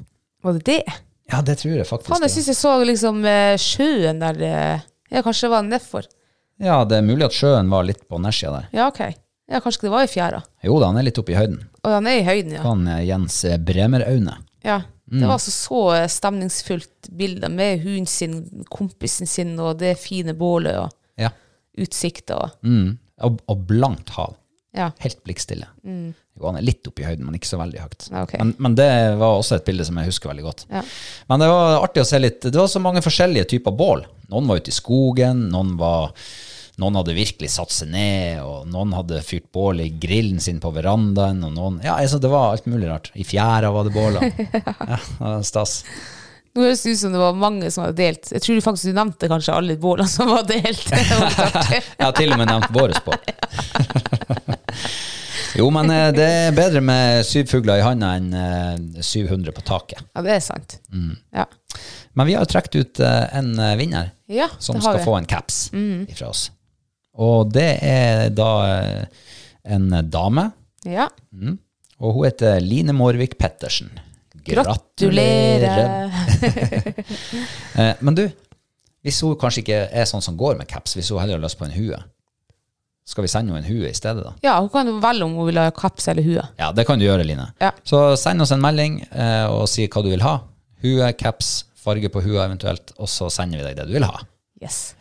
S2: Var det det?
S1: Ja, det tror jeg faktisk.
S2: Faen,
S1: det.
S2: jeg synes jeg så liksom eh, sjøen der, eh, ja, kanskje det var nedfor.
S1: Ja, det er mulig at sjøen var litt på nedsida der.
S2: Ja, ok. Ja, kanskje det var i fjæra.
S1: Jo da, han er litt oppe i høyden.
S2: Og han er i høyden, ja.
S1: Han eh, Jens Bremeraune.
S2: Ja, det var altså så eh, stemningsfullt bilder med hunden sin, kompisen sin og det fine bålet og
S1: Ja.
S2: utsikter. Og,
S1: Mm. Og, og blankt hav.
S2: ja.
S1: Helt blikkstille. Jo, han er litt oppe i høyden, men ikke så veldig høyt.
S2: Ja, Mm. Ah, ok.
S1: Men, men det var også et bilde som jeg husker veldig godt.
S2: Ja.
S1: Men det var artig å se litt. Det var så mange forskjellige typer bål. Noen var ute i skogen, noen, var, noen hadde virkelig satt seg ned, og noen hadde fyrt bål i grillen sin på verandaen, og noen Ja, altså, det var alt mulig rart. I fjæra var det bål. og- Ja, det var stas.
S2: Nå høres det ut som det var mange som hadde delt. Jeg tror faktisk du nevnte kanskje alle bålene som var delt. Det var litt artig.
S1: Jeg har til og med nevnt våres bål. Jo, men eh, det er bedre med syv fugler i handa enn eh, 700 på taket.
S2: Ja, det er sant. Ja.
S1: Men vi har trukket ut eh, en eh, vinner
S2: ja,
S1: som
S2: det
S1: skal
S2: har vi. Mm.
S1: få en caps fra oss. Og det er da eh, en dame,
S2: Ja.
S1: mm. og hun heter Line Mårvik Pettersen.
S2: Gratulerer.
S1: Eh, Men du, hvis hun kanskje ikke er sånn som går med caps, hvis hun heller har lyst på en hue, skal vi sende henne en hue i stedet da?
S2: Ja, hun kan jo velge om hun vil ha kaps eller hue.
S1: Ja, det kan du gjøre, Line.
S2: Ja.
S1: Så send oss en melding eh, og si hva du vil ha. Hue, caps, farge på hua eventuelt, og så sender vi deg det du vil ha.
S2: Yes.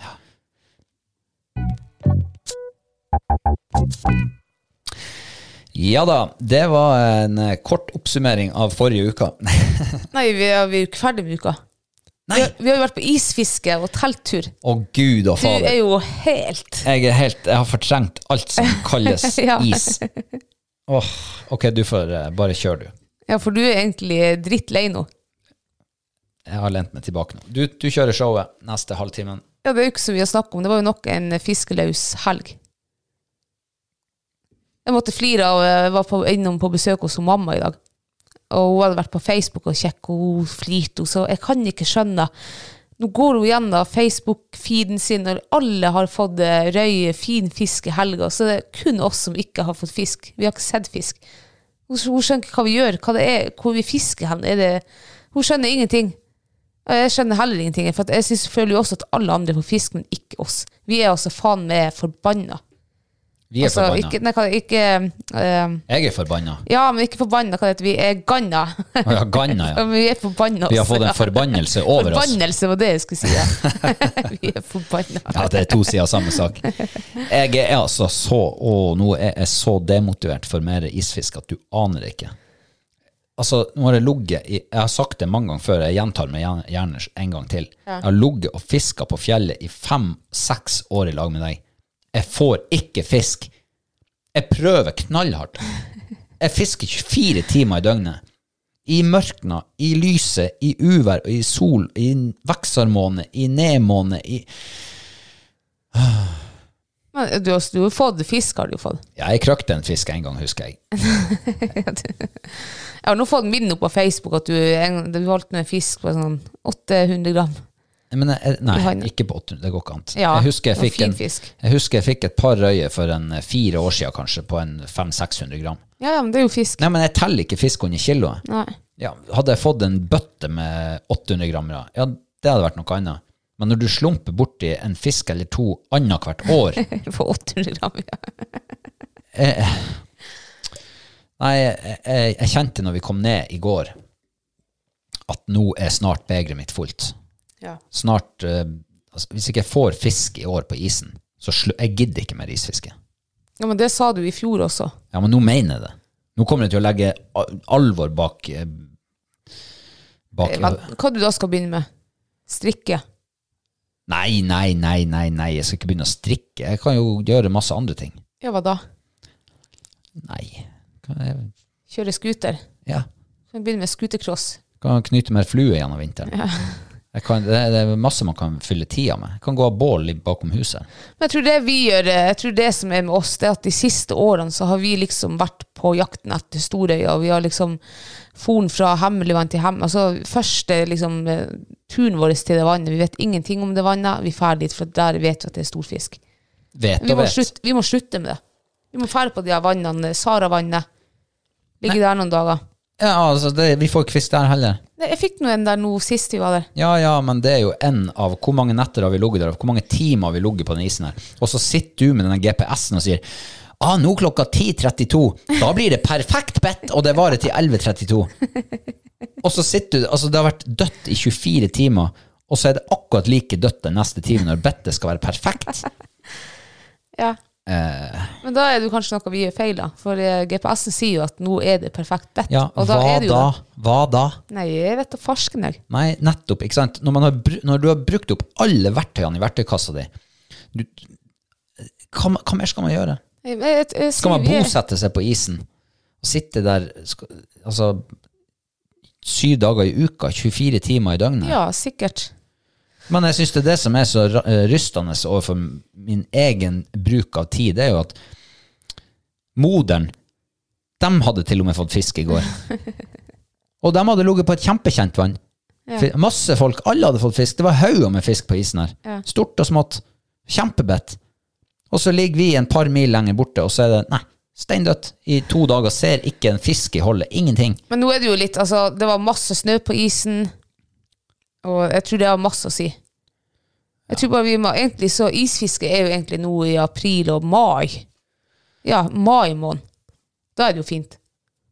S1: Ja da, det var en eh, kort oppsummering av forrige uke.
S2: Nei, vi er, vi er jo ikke ferdig med uka. Vi
S1: Nei!
S2: har, vi har jo vært på isfiske og telttur.
S1: Å gud og
S2: Du er
S1: fader.
S2: jo helt
S1: Jeg, er helt, jeg har fortrengt alt som kalles
S2: Ja.
S1: is. Åh, ok, du får eh, bare kjøre, du.
S2: Ja, for du er egentlig drittlei nå.
S1: Jeg har lent meg tilbake nå. Du, du kjører showet neste halvtimen.
S2: Ja, det er jo ikke så mye å snakke om. Det var jo nok en fiskeløs helg. Jeg måtte flire av Jeg var på, innom på besøk hos hun mamma i dag. Og hun hadde vært på Facebook og sjekket, og hun flirte. Hun sa jeg kan ikke skjønne Nå går hun gjennom Facebook-feeden sin, og alle har fått eh, røye, fin fisk i helga. Så det er kun oss som ikke har fått fisk. Vi har ikke sett fisk. Hun, hun skjønner ikke hva vi gjør, hva det er, hvor vi fisker hen. Er det, hun skjønner ingenting. Og jeg skjønner heller ingenting, for at jeg synes, føler jo også at alle andre får fisk, men ikke oss. Vi er altså faen meg forbanna.
S1: Vi er
S2: altså,
S1: forbanna.
S2: ikke, nei, hva- ikke eh,
S1: Jeg er forbanna.
S2: Ja, men ikke forbanna, hva det heter. Vi er ganna.
S1: Å ja, Ganna, ja.
S2: Men vi er forbanna.
S1: Vi har
S2: også,
S1: fått
S2: ja.
S1: en forbannelse over oss.
S2: Forbannelse var det jeg skulle si. Ja. vi er forbanna.
S1: Ja, det er to sider av samme sak. Jeg er altså så og nå er jeg så demotivert for mer isfisk at du aner ikke. Altså, nå har jeg ligget i Jeg har sagt det mange ganger før, jeg gjentar meg gjerne- gjerne en gang til. Jeg har ligget og fiska på fjellet i fem-seks år i lag med deg. Jeg får ikke fisk. Jeg prøver knallhardt. Jeg fisker 24 timer i døgnet. I mørkna, i lyset, i uvær, og i sol, i veksarmåne, i nedmåne, i
S2: Men eh, du, har- du har fått fisk, har du jo fått.
S1: Ja, jeg krøkte en fisk en gang, husker jeg.
S2: Jeg har nå fått min opp på Facebook at du, en- du valgte med en fisk på sånn 800 gram.
S1: Men jeg, nei,
S2: Johanne.
S1: ikke på 800, det går ikke an.
S2: Ja,
S1: jeg, husker jeg,
S2: det var
S1: fikk
S2: fin
S1: en,
S2: fisk.
S1: jeg husker jeg fikk et par røye for en eh, fire år siden, kanskje, på en 500-600 gram.
S2: Ja, ja, men det er jo fisk.
S1: Nei, men jeg teller ikke fisk under kiloet.
S2: Nei.
S1: Ja, hadde jeg fått en bøtte med 800 gram, ja, ja, det hadde vært noe annet. Men når du slumper borti en fisk eller to annethvert år
S2: På 800 gram, ja.
S1: Nei, jeg, jeg, jeg kjente når vi kom ned i går, at nå er snart begeret mitt fullt.
S2: ja.
S1: snart eh, altså, Hvis ikke jeg får fisk i år på isen, så slu, jeg gidder ikke mer isfiske.
S2: Ja, men det sa du i fjor også.
S1: Ja, Men nå mener jeg det. Nå kommer jeg til å legge al- alvor bak eh, bak
S2: Men, Eh, hva du da skal begynne med? Strikke?
S1: Nei, nei, nei, nei, nei, jeg skal ikke begynne å strikke. Jeg kan jo gjøre masse andre ting.
S2: Ja, hva da?
S1: Nei. Kan jeg,
S2: Kjøre scooter?
S1: ja.
S2: Kan begynne med scootercross?
S1: kan knyte mer flue gjennom vinteren. Jeg kan, det, er, det er masse man kan fylle tida med. Jeg kan gå av bål i- bakom huset.
S2: Men jeg tror det vi gjør, eh, jeg tror det som er med oss, det er at de siste årene så har vi liksom vært på jakten etter Storøya, og vi har liksom forn fra hemmeligvann til hemmelig. Altså første liksom eh, turen vår til det vannet, vi vet ingenting om det vannet, vi drar dit, for der vet vi at det er storfisk.
S1: Vet
S2: Vi
S1: og
S2: må,
S1: vet.
S2: slutte, vi må slutte med det. Vi må fære på de her vannene, Saravannet. Ligge der noen dager.
S1: Ja, altså, det, vi får ikke fisk der heller.
S2: Nei, Jeg fikk nå en der nå sist vi var der.
S1: Ja, ja, men det er jo en av Hvor mange netter har vi ligget der? og Hvor mange timer har vi ligget på den isen her? Og så sitter du med denne GPS-en og sier Ah, nå klokka 10.32. Da blir det perfekt bedt, og det varer til 11.32. Og så sitter du Altså, det har vært dødt i 24 timer, og så er det akkurat like dødt den neste timen når bettet skal være perfekt.
S2: Ja.
S1: Eh,
S2: Men da er det jo kanskje noe vi gjør feil, da. For eh, GPS-en sier jo at nå er det perfekt bedt.
S1: ja,
S2: og da
S1: hva
S2: er det jo
S1: da?
S2: det.
S1: Hva da?
S2: Nei, jeg vet da farsken, jeg.
S1: Nei, nettopp. ikke sant? Når, man har, bru- når du har brukt opp alle verktøyene i verktøykassa di, du, hva, hva mer skal man gjøre?
S2: Jeg- jeg- jeg- jeg
S1: Skal man
S2: sier vi er-
S1: bosette seg på isen og sitte der sk- altså, syv dager i uka, 24 timer i døgnet?
S2: Ja, sikkert.
S1: Men jeg syns det er det som er så ra- eh, rystende overfor min egen bruk av tid, det er jo at moderen, de hadde til og med fått fisk i går. Og de hadde ligget på et kjempekjent vann.
S2: Ja.
S1: Fi- Masse folk, alle hadde fått fisk. Det var hauger med fisk på isen her.
S2: Ja.
S1: Stort og smått. Kjempebedt. Og så ligger vi en par mil lenger borte, og så er det nei, steindødt i to dager. Ser ikke en fisk i holdet. Ingenting.
S2: Men nå er det jo litt Altså, det var masse snø på isen, og jeg tror det har masse å si. Jeg tror bare vi må egentlig Så isfiske er jo egentlig nå i april og mai. Ja, mai måned. Da er det jo fint.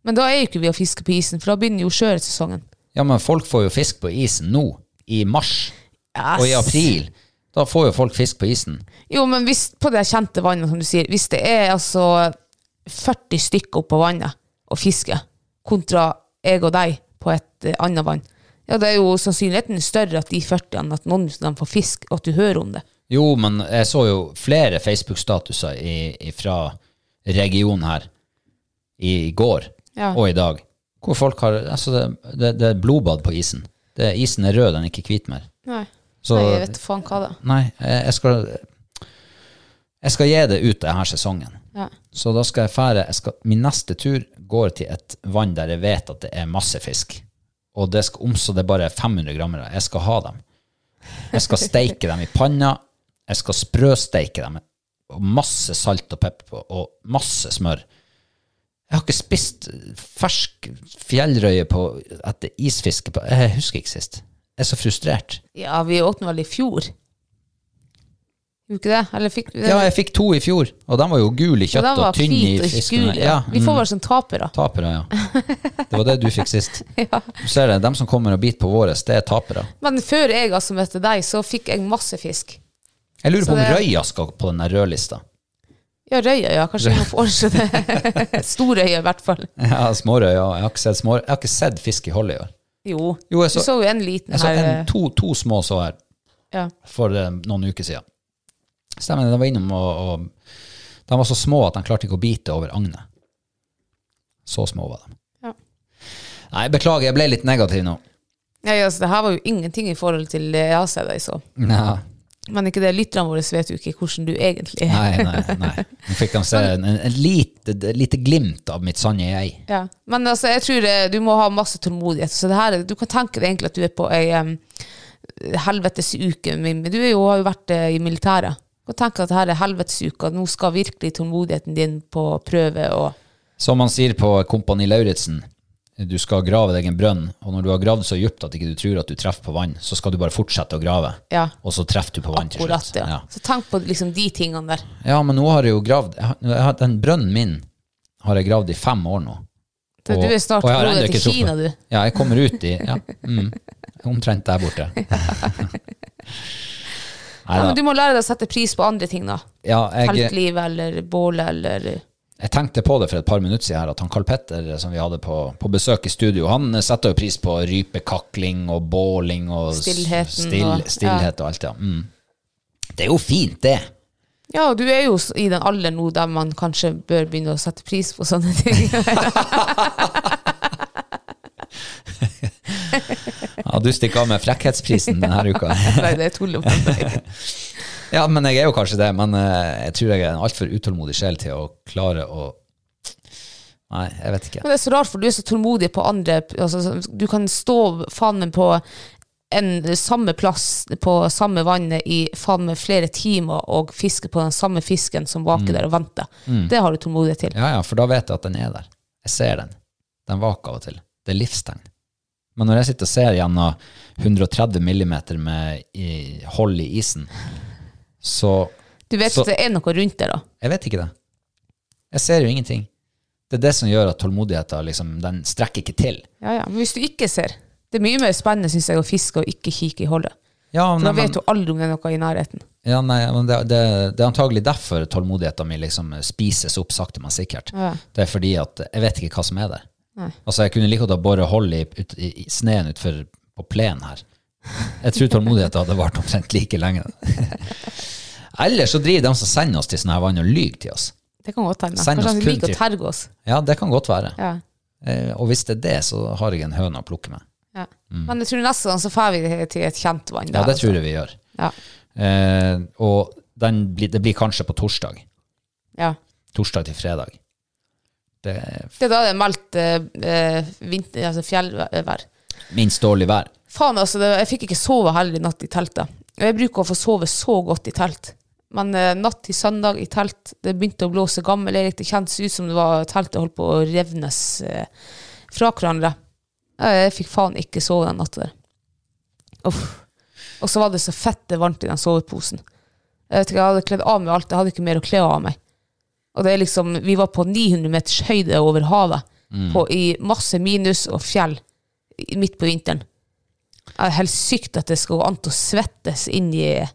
S2: Men da er jo ikke vi å fiske på isen, for da begynner jo sjøørretsesongen.
S1: Ja, men folk får jo fisk på isen nå, i mars og i april. Da får jo folk fisk på isen.
S2: Jo, men hvis på det kjente vannet, som du sier, hvis det er altså 40 stykker oppå vannet og fisker, kontra jeg og deg på et eh, annet vann, ja, det er jo sannsynligheten større at de 40 enn at noen av dem får fisk, og at du hører om det.
S1: Jo, men jeg så jo flere Facebook-statuser i- fra regionen her i går
S2: Ja.
S1: og i dag, hvor folk har altså det, det, det er blodbad på isen. Det, isen er rød, den er ikke hvit mer.
S2: Nei,
S1: Så
S2: Nei, jeg vet faen hva det er.
S1: nei, jeg jeg skal jeg skal gi det ut denne sesongen.
S2: Ja.
S1: Så da skal jeg fære jeg skal, Min neste tur går til et vann der jeg vet at det er masse fisk. Og det skal om så det er bare 500 grammer. Jeg skal ha dem. Jeg skal steike dem i panna. Jeg skal sprøsteike dem. Og masse salt og pepper på, og masse smør. Jeg har ikke spist fersk fjellrøye på, etter isfiske på Jeg husker ikke sist. Jeg er så frustrert.
S2: ja, vi åpnet vel i fjor. Gjorde ikke det? Eller fikk vi det?
S1: Ja, jeg fikk to i fjor, og de var jo gule i
S2: Ja,
S1: kjøtt
S2: den
S1: og
S2: var
S1: tynne i
S2: hvit og
S1: fisken.
S2: gul,
S1: Ja, mm.
S2: ja. Vi får være sånn tapere.
S1: Tapere, ja. Det var det du fikk sist. Du ser det, dem som kommer og biter på våres, det er tapere.
S2: Men før jeg altså møtte deg, så fikk jeg masse fisk.
S1: Jeg lurer
S2: Så
S1: på om
S2: det-
S1: røya skal på den der rødlista.
S2: Ja, røya, ja. Kanskje vi må foreslå det. Storøya, i hvert fall.
S1: Ja, smårøya. Jeg har ikke sett, små, jeg har ikke sett fisk i holdet i år.
S2: Jo,
S1: Jo, jeg
S2: du
S1: så,
S2: så jo en liten
S1: jeg så
S2: her. eh,
S1: en, to, to små så her
S2: ja.
S1: for eh, noen uker siden. Stemmer det, de var innom og, og De var så små at de klarte ikke å bite over agnet. Så små var de.
S2: Ja.
S1: Nei, beklager, jeg ble litt negativ nå.
S2: Nei, altså, det her var jo ingenting i forhold til det jeg har sett deg så.
S1: Ja.
S2: Men ikke det, lytterne våre vet jo ikke hvordan du egentlig er.
S1: Nei, nei, nei. Nå fikk de se en, en, en lite, et lite glimt av mitt sanne jeg.
S2: Ja. Men altså, jeg tror eh, du må ha masse tålmodighet. Så det her, du kan tenke deg egentlig at du er på ei um, helvetes uke. Mimmi. Du er jo, har jo vært eh, i militæret. Du kan tenke at det her er helvetes uke, at nå skal virkelig tålmodigheten din på prøve. Og,
S1: Som man sier på Kompani Lauritzen, du skal grave deg en brønn, og når du har gravd så djupt at ikke du tror at du treffer på vann, så skal du bare fortsette å grave,
S2: ja,
S1: og så treffer du på vann til
S2: akkurat,
S1: slutt.
S2: ja. Så tenk på liksom de tingene der.
S1: Ja, men nå har jeg jo gravd, jeg har, jeg har, den brønnen min har jeg gravd i fem år nå.
S2: Så du er snart
S1: og jeg har ennå
S2: modig
S1: ikke
S2: til
S1: truffet.
S2: Kina, du.
S1: Ja, jeg kommer ut i, ja, mm, omtrent der borte.
S2: Ja, men
S1: Neida.
S2: du må lære deg å sette pris på andre ting, da.
S1: Ja, jeg,
S2: Teltliv eller bålet eller
S1: Jeg tenkte på det for et par minutter siden her, at han Carl Petter eh, som vi hadde på, på besøk i studio, han eh, setter jo pris på rypekakling og båling og s-
S2: Stillheten
S1: still,
S2: og- ja.
S1: stillhet og alt, ja. Mm. Det er jo fint, det.
S2: Ja, og du er jo s- i den alderen nå der man kanskje bør begynne å sette pris på sånne ting.
S1: Ja, du stikker av med frekkhetsprisen denne uka.
S2: Nei, det er tull og meg.
S1: Ja, men jeg er jo kanskje det, men eh, jeg tror jeg er en altfor utålmodig sjel til å klare å Nei, jeg vet ikke.
S2: Men det er så rart, for du er så tålmodig på andre altså, så- Du kan stå faen meg på en samme plass på samme vannet i faen meg flere timer og fiske på den samme fisken som vaker der og venter. Det har du tålmodighet til.
S1: Mm. Ja, ja, for da vet jeg at den er der. Jeg ser den. Den vaker av og til. Det er livstegn. Men når jeg sitter og ser gjennom 130 millimeter med i, hold i isen, så
S2: Du vet
S1: Så-
S2: at det er noe rundt der, da.
S1: Jeg vet ikke det. Jeg ser jo ingenting. Det er det som gjør at tålmodigheten liksom, den strekker ikke til.
S2: Ja, ja. Men hvis du ikke ser Det er mye mer spennende, syns jeg, å fiske og ikke kikke i hullet.
S1: Ja,
S2: For
S1: nei,
S2: da
S1: men,
S2: vet du aldri om det er noe i nærheten.
S1: ja, nei, men det, det, det er antagelig derfor tålmodigheten min liksom spises opp sakte, men sikkert.
S2: Ja.
S1: Det er fordi at jeg vet ikke hva som er der.
S2: Nei.
S1: Altså, jeg kunne like godt ha båret hold i, ut, i, i sneen utfor på plenen her. Jeg tror tålmodigheten hadde vart omtrent like lenge. Ellers så driver de som sender oss til sånne her vann og lyver til oss.
S2: Det kan godt hende.
S1: Send oss
S2: Kanskje han
S1: kun
S2: liker å
S1: til-
S2: terge oss.
S1: Ja, det kan godt være.
S2: Ja.
S1: Eh, og hvis det er det, så har jeg en høne å plukke med.
S2: Ja. Men jeg tror neste gang så får vi til et kjent vann.
S1: Mm. Ja,
S2: der,
S1: det
S2: altså.
S1: tror jeg vi gjør.
S2: Ja.
S1: Eh, og den blir, det blir kanskje på torsdag.
S2: Ja.
S1: Torsdag til fredag. Det
S2: Det er da det er meldt eh, eh, vinter- altså fjellvær.
S1: er minst dårlig vær.
S2: Faen, altså, det, jeg fikk ikke sove heller i natt i teltet. Og jeg bruker å få sove så godt i telt. Men eh, natt til søndag i telt, det begynte å blåse gammel Erik. Det kjentes ut som det var teltet holdt på å revnes eh, fra hverandre. Eh, Jeg fikk faen ikke sove den natta der. Uff. Og så var det så fette varmt i den soveposen. Jeg vet ikke, jeg hadde kledd av meg alt. Jeg hadde ikke mer å kle av meg. Og det er liksom, Vi var på 900 meters høyde over havet, på, i masse minus og fjell, i- midt på vinteren. Det er helt sykt at det skal gå an til å svettes inn i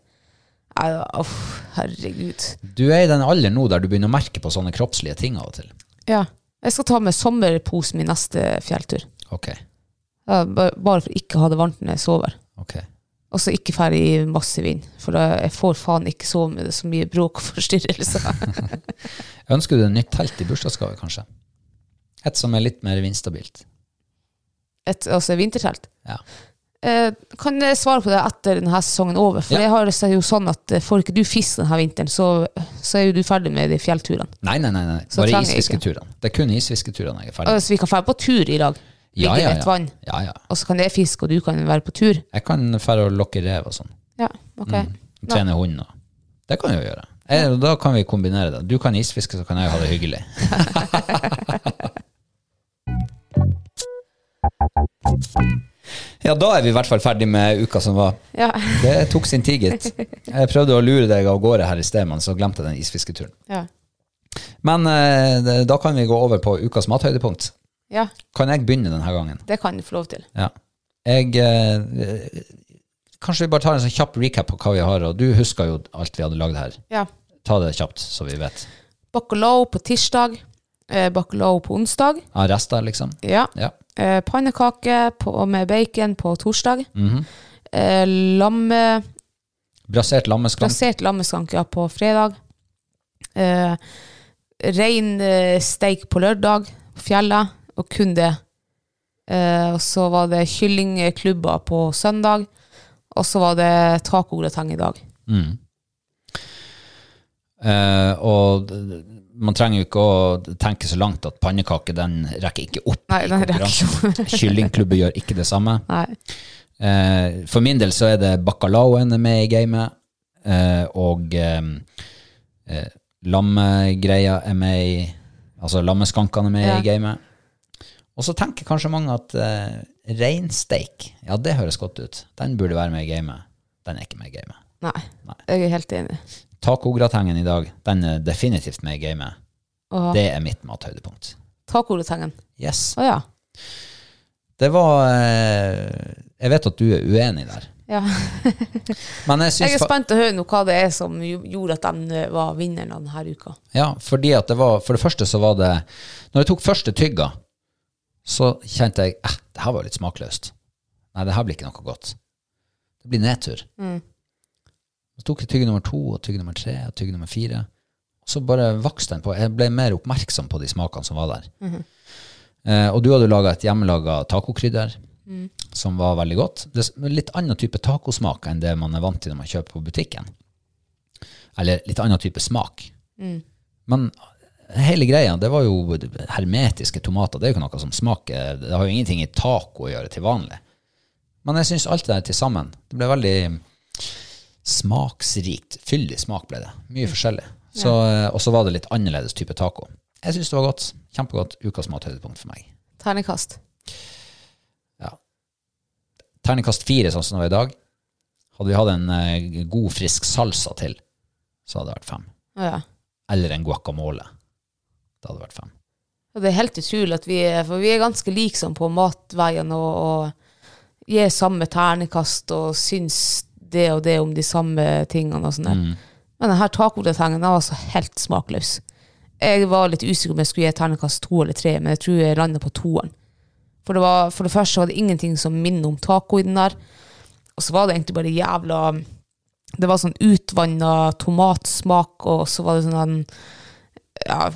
S2: Nei, Uff, herregud.
S1: Du er i den alderen nå der du begynner å merke på sånne kroppslige ting av og til.
S2: Ja. Jeg skal ta med sommerposen min neste fjelltur.
S1: Ok,
S2: Ja, ba- Bare for ikke å ha det varmt når jeg sover.
S1: ok.
S2: Og så ikke ferdig i masse vind, for da- jeg får faen ikke sove med det så mye bråk og forstyrrelser.
S1: Ønsker du deg nytt telt i bursdagsgave, kanskje? Et som er litt mer vindstabilt.
S2: Et, altså vintertelt.
S1: Ja.
S2: Eh, kan jeg svare på det etter denne sesongen er over? For
S1: Ja.
S2: jeg har det jo sånn at eh, får ikke du fisk denne vinteren, så, så er jo du ferdig med de fjellturene.
S1: Nei, nei, nei, nei.
S2: Så
S1: bare
S2: trenger jeg ikke.
S1: isfisketurene. Det er kun isfisketurene jeg er ferdig med.
S2: Altså, vi kan dra på tur i dag. Ligge ved et vann.
S1: ja, ja.
S2: Og så kan jeg fiske, og du kan være på tur.
S1: Jeg kan dra og lokke rev og sånn.
S2: Ja, ok.
S1: Trene hund og Det kan jeg jo gjøre. Eh, Da kan vi kombinere det. Du kan isfiske, så kan jeg ha det hyggelig. ja, da er vi i hvert fall ferdig med uka som var.
S2: Ja.
S1: Det tok sin tid, gitt. Jeg prøvde å lure deg av gårde her i sted, men så glemte jeg den isfisketuren.
S2: Ja.
S1: Men eh, det- da kan vi gå over på ukas mathøydepunkt.
S2: ja,
S1: Kan jeg begynne denne gangen?
S2: det kan du få lov til.
S1: Ja. Jeg eh, Kanskje vi bare tar en sånn kjapp recap på hva vi har, og du husker jo alt vi hadde lagd her.
S2: Ja.
S1: Ta det kjapt, så vi vet.
S2: Bacalao på tirsdag, eh, bacalao på onsdag,
S1: Ja, rester, liksom.
S2: ja.
S1: Ja.
S2: eh, pannekake på, med bacon på torsdag,
S1: Mhm.
S2: eh, lamme,
S1: Brasert lammeskram.
S2: glasert lammeskank ja, på fredag, eh, rein eh, steik på lørdag på fjellet, og kun det. Eh, og så var det kyllingklubber på søndag, og så var det tacograteng i dag.
S1: Mm. Eh, og d- d- man trenger jo ikke å tenke så langt at pannekake den rekker ikke opp.
S2: Nei,
S1: i
S2: den rekker
S1: konkurransen. Kyllingklubben gjør ikke det samme.
S2: Nei.
S1: Eh, for min del så er det bacalaoen er med i gamet, eh, og eh, eh, lammegreia er med i Altså lammeskankene er med
S2: Ja.
S1: i gamet. Og så tenker kanskje mange at eh, reinsteik, ja, det høres godt ut. Den burde være med i gamet. Den er ikke med i gamet.
S2: Nei,
S1: Nei.
S2: jeg er helt enig.
S1: Tacogratengen i dag, den er definitivt med i gamet.
S2: Og
S1: Det er mitt mathøydepunkt.
S2: tacorotangen.
S1: Yes.
S2: Å ja.
S1: Det var eh, Jeg vet at du er uenig der,
S2: ja.
S1: men jeg
S2: Jeg
S1: syns
S2: er spent å høre nå hva det er som jo- gjorde at de var vinnerne denne uka.
S1: Ja, fordi at det var For det første så var det Når jeg tok første tygga, så kjente jeg eh, det her var jo litt smakløst. Nei, det her blir ikke noe godt. Det blir nedtur. Så tok jeg tygg nummer to og tygg nummer tre og tygg nummer fire. Og så bare vokste den på. Jeg ble mer oppmerksom på de smakene som var der. eh, og du hadde laga et hjemmelaga tacokrydder som var veldig godt. Det er en litt annen type tacosmak enn det man er vant til når man kjøper på butikken. Eller litt annen type smak. Men hele greia, det var jo hermetiske tomater. Det er jo ikke noe som smaker Det har jo ingenting i taco å gjøre til vanlig. Men jeg syns alt det der til sammen Det ble veldig smaksrikt. Fyldig smak ble det. Mye forskjellig. Så, eh, Og så var det litt annerledes type taco. Jeg syns det var godt. Kjempegodt. Ukas mathøydepunkt for meg.
S2: Ternekast.
S1: Ja. Terningkast fire, sånn som det var i dag. Hadde vi hatt en eh, god, frisk salsa til, så hadde det vært fem.
S2: Å ja.
S1: Eller en guacamole. Det hadde vært fem.
S2: Og det er helt utrolig at vi er, for vi er ganske liksom på matveien og, og gir samme ternekast og syns det og det om de samme tingene og sånn der. Men denne tacorotangen den var altså helt smakløs. Jeg var litt usikker om jeg skulle gi ternekast to eller tre, men jeg tror jeg landa på toeren. For det, var, for det første var det ingenting som minner om taco i den der. Og så var det egentlig bare jævla Det var sånn utvanna tomatsmak, og så var det sånn en ja,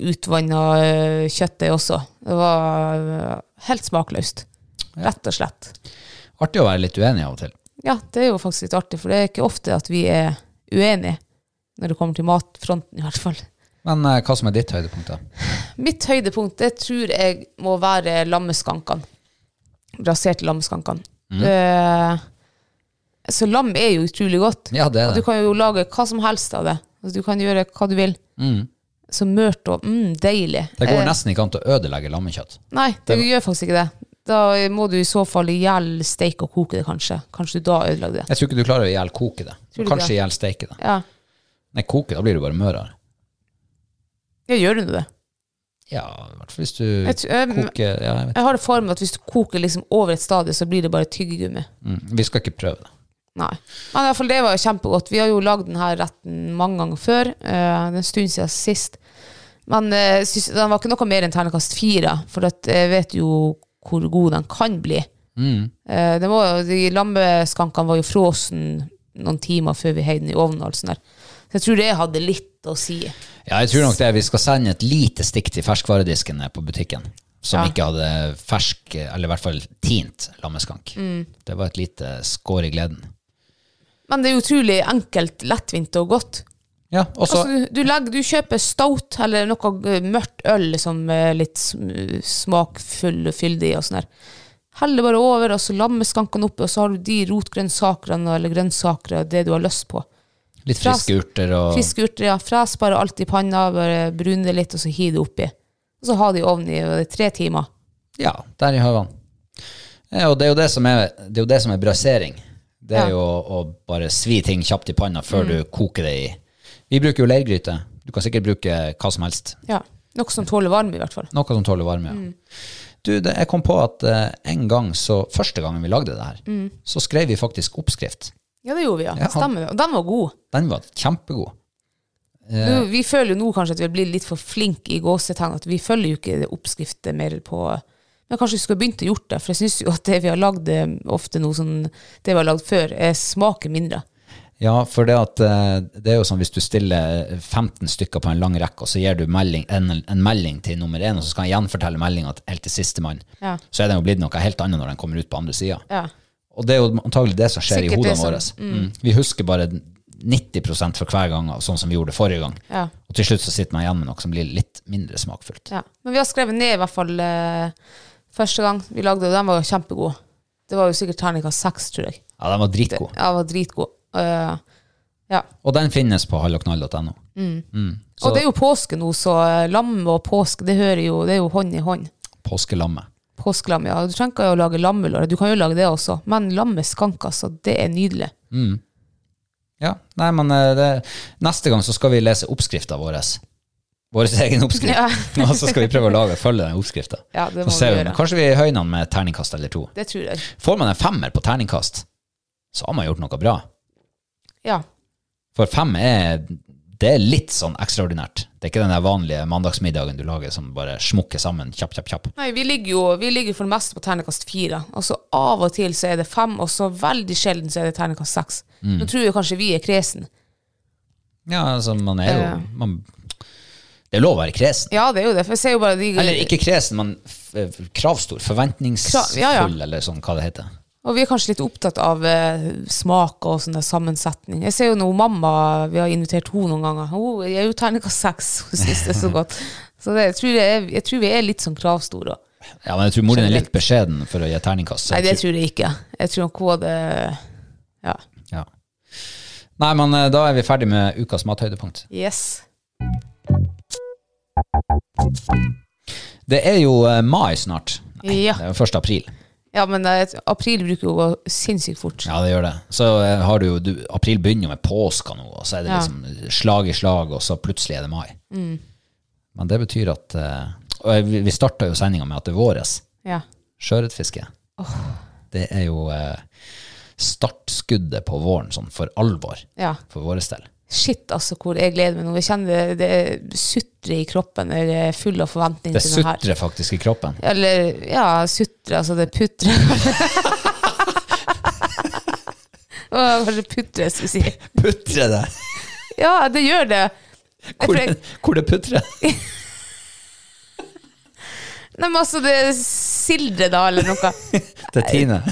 S2: utvanna eh, kjøttdeig også. Det var eh, helt smakløst. Rett og slett.
S1: Artig å være litt uenig av og til.
S2: Ja, det er jo faktisk litt artig, for det er ikke ofte at vi er uenige når det kommer til matfronten, i hvert fall.
S1: Men eh, hva som er ditt høydepunkt, da?
S2: Mitt høydepunkt, det tror jeg må være lammeskankene. Raserte lammeskankene.
S1: Mm.
S2: Eh, så lam er jo utrolig godt.
S1: Ja, det er
S2: Og Du
S1: det.
S2: kan jo lage hva som helst av det. Altså, du kan gjøre hva du vil. Så mørt og mm, deilig.
S1: Mm. Det
S2: Eh,
S1: går nesten ikke an til å ødelegge lammekjøtt.
S2: Nei, det, gjør faktisk ikke det. Da må du i så fall i hjel steike og koke det, kanskje. Kanskje du da ødelegger det.
S1: Jeg tror ikke du klarer å ihjelkoke det.
S2: Tror du
S1: Kanskje
S2: det?
S1: ihjelsteike det.
S2: Ja,
S1: Nei, koke, da blir du bare mørere.
S2: ja gjør du det?
S1: Ja, i hvert fall hvis du
S2: Jeg, tror- jeg,
S1: koker ja, jeg vet.
S2: jeg har det for meg at hvis du koker liksom over et stadie, så blir det bare tyggegummi.
S1: Mm. Vi skal ikke prøve det.
S2: Nei. Men i hvert fall, det var jo kjempegodt. Vi har jo lagd denne retten mange ganger før. eh, det er en stund siden sist. Men eh, syns- den var ikke noe mer enn terningkast fire, for at eh, jeg vet jo hvor god den kan bli. Eh, det var, jo- de lammeskankene var jo frossen noen timer før vi heiv den i ovnen. og alt sånt der. Så jeg tror det hadde litt å si.
S1: Ja, jeg tror nok det. Vi skal sende et lite stikk til ferskvaredisken eh, på butikken. Som
S2: Ja.
S1: ikke hadde fersk, eller i hvert fall tint, lammeskank.
S2: Mm.
S1: Det var et lite skår i gleden.
S2: Men det er utrolig enkelt, lettvint og godt.
S1: Ja, og så
S2: Altså, du, du, legger, du kjøper stout eller noe eh, mørkt øl som er litt sm- smakfull og fyldig og sånn her. Heller bare over, og så lammeskanken oppi, og så har du de rotgrønnsakene eller grønnsaker og det du har lyst på.
S1: litt friske urter og
S2: Friske urter, ja. Fres bare alt i panna, bare brun det litt, og så hiv det oppi. Og så ha det i ovnen i eh, tre timer.
S1: Ja, der i høvene. Ja, og det er jo det som er, det er, jo det som er brasering. Det
S2: Ja.
S1: er jo å, å bare svi ting kjapt i panna før du koker det i Vi bruker jo leirgryte. Du kan sikkert bruke hva som helst.
S2: Ja. Noe som tåler varme, i hvert fall.
S1: Noe som tåler varme, ja. Du, det, jeg kom på at eh, en gang så, første gangen vi lagde det her, så skrev vi faktisk oppskrift.
S2: Ja, det gjorde vi, ja.
S1: Ja.
S2: Stemmer det. Og den var god.
S1: Den var kjempegod.
S2: Nå, vi føler jo nå kanskje at vi blir litt for flinke i gåsetegn, at vi følger jo ikke oppskrifter mer på Men kanskje vi skulle begynt å gjort det, for jeg syns jo at det vi har lagd eh, ofte nå, sånn, det vi har lagd før, eh, smaker mindre.
S1: Ja, for det, at, eh, det er jo sånn hvis du stiller 15 stykker på en lang rekke, og så gir du melding, en, en melding til nummer én, og så skal han gjenfortelle meldinga helt til sistemann,
S2: Ja.
S1: så er den jo blitt noe helt annet når den kommer ut på andre sida.
S2: Ja.
S1: Og det er jo antagelig det som skjer
S2: Sikkert
S1: i hodene
S2: det som-
S1: våre. Mm. Vi husker bare 90 for hver gang, av sånn som vi gjorde det forrige gang.
S2: Ja.
S1: Og til slutt så sitter man igjen med noe som blir litt mindre smakfullt.
S2: ja. Men vi har skrevet ned i hvert fall eh, første gang vi lagde det, og den var jo kjempegod. Det var jo sikkert terningkast seks, tror jeg.
S1: Ja, den var dritgod.
S2: Ja, den var dritgod. Eh, ja. Mm.
S1: Og den finnes på hallognall.no. Mm. Så-
S2: Og det er jo påske nå, så eh, lam og påske, det hører jo, det er jo hånd i hånd.
S1: Påskelamme.
S2: Påskelam, ja. Du trenger ikke å lage lammelår, du kan jo lage det også. Men lammeskank, altså, det er nydelig.
S1: Ja, nei, men eh, det, neste gang så skal vi lese oppskrifta vår. Vår egen oppskrift.
S2: Ja.
S1: og så skal vi prøve å lage, følge den oppskrifta.
S2: Ja, det må
S1: Så ser
S2: vi
S1: vi
S2: gjøre.
S1: om- Kanskje vi høyner den med et terningkast eller to.
S2: Det tror jeg.
S1: Får man en femmer på terningkast, så har man gjort noe bra.
S2: Ja.
S1: For fem er det er litt sånn ekstraordinært. Det er ikke den der vanlige mandagsmiddagen du lager som bare smukker sammen kjapp, kjapp, kjapp.
S2: Nei, vi ligger jo vi ligger for det meste på ternekast fire. Og så av og til så er det fem, og så veldig sjelden så er det ternekast seks.
S1: Mm.
S2: Nå tror jeg kanskje vi er kresen.
S1: Ja, altså man er jo
S2: Ja.
S1: man, Det er lov å være kresen.
S2: Ja, det er jo det, for jeg ser jo bare de
S1: Eller ikke kresen, men f f- kravstor.
S2: Krav-
S1: Forventningsfull,
S2: ja, ja.
S1: eller sånn hva det heter.
S2: Og vi er kanskje litt opptatt av eh, smak og sånn der sammensetning. Jeg ser jo nå mamma, vi har invitert henne noen ganger. Hun jeg er jo ternekast seks, hun syns det er så godt. Så det, jeg, tror det er, jeg tror vi er litt sånn kravstore.
S1: Ja, men jeg tror mor din er litt beskjeden for å gi terningkast. så
S2: Nei,
S1: jeg
S2: det tror jeg ikke. Jeg tror nok hun hadde Ja.
S1: tror- ja. Nei, men eh, da er vi ferdig med ukas mathøydepunkt.
S2: Yes.
S1: Det er jo eh, mai snart. Nei,
S2: Ja.
S1: Det er jo 1. april.
S2: Ja, men eh, april bruker jo å gå sinnssykt fort.
S1: Ja, det gjør det. Så eh, har du jo du, April begynner jo med påska nå, og så er det
S2: Ja. Mm.
S1: liksom slag i slag, og så plutselig er det mai. Men det betyr at eh, Og jeg- vi- vi starta jo sendinga med at det er våres.
S2: Ja.
S1: Sjøørretfiske. Det er jo eh, startskuddet på våren, sånn for alvor,
S2: ja.
S1: for vår del.
S2: Shit, altså, hvor jeg gleder meg nå. Jeg kjenner det, det sutrer i kroppen. Jeg er full av forventning
S1: Det
S2: til den her.
S1: sutrer faktisk i kroppen.
S2: Eller ja, sutrer, altså det putrer. Å, Kanskje putre, jeg skulle si.
S1: Putrer det!
S2: Ja, det gjør det. Jeg
S1: Hvor,
S2: tror jeg-
S1: hvor det putrer?
S2: Nei, men altså, det sildrer da, eller noe.
S1: Det er Tine.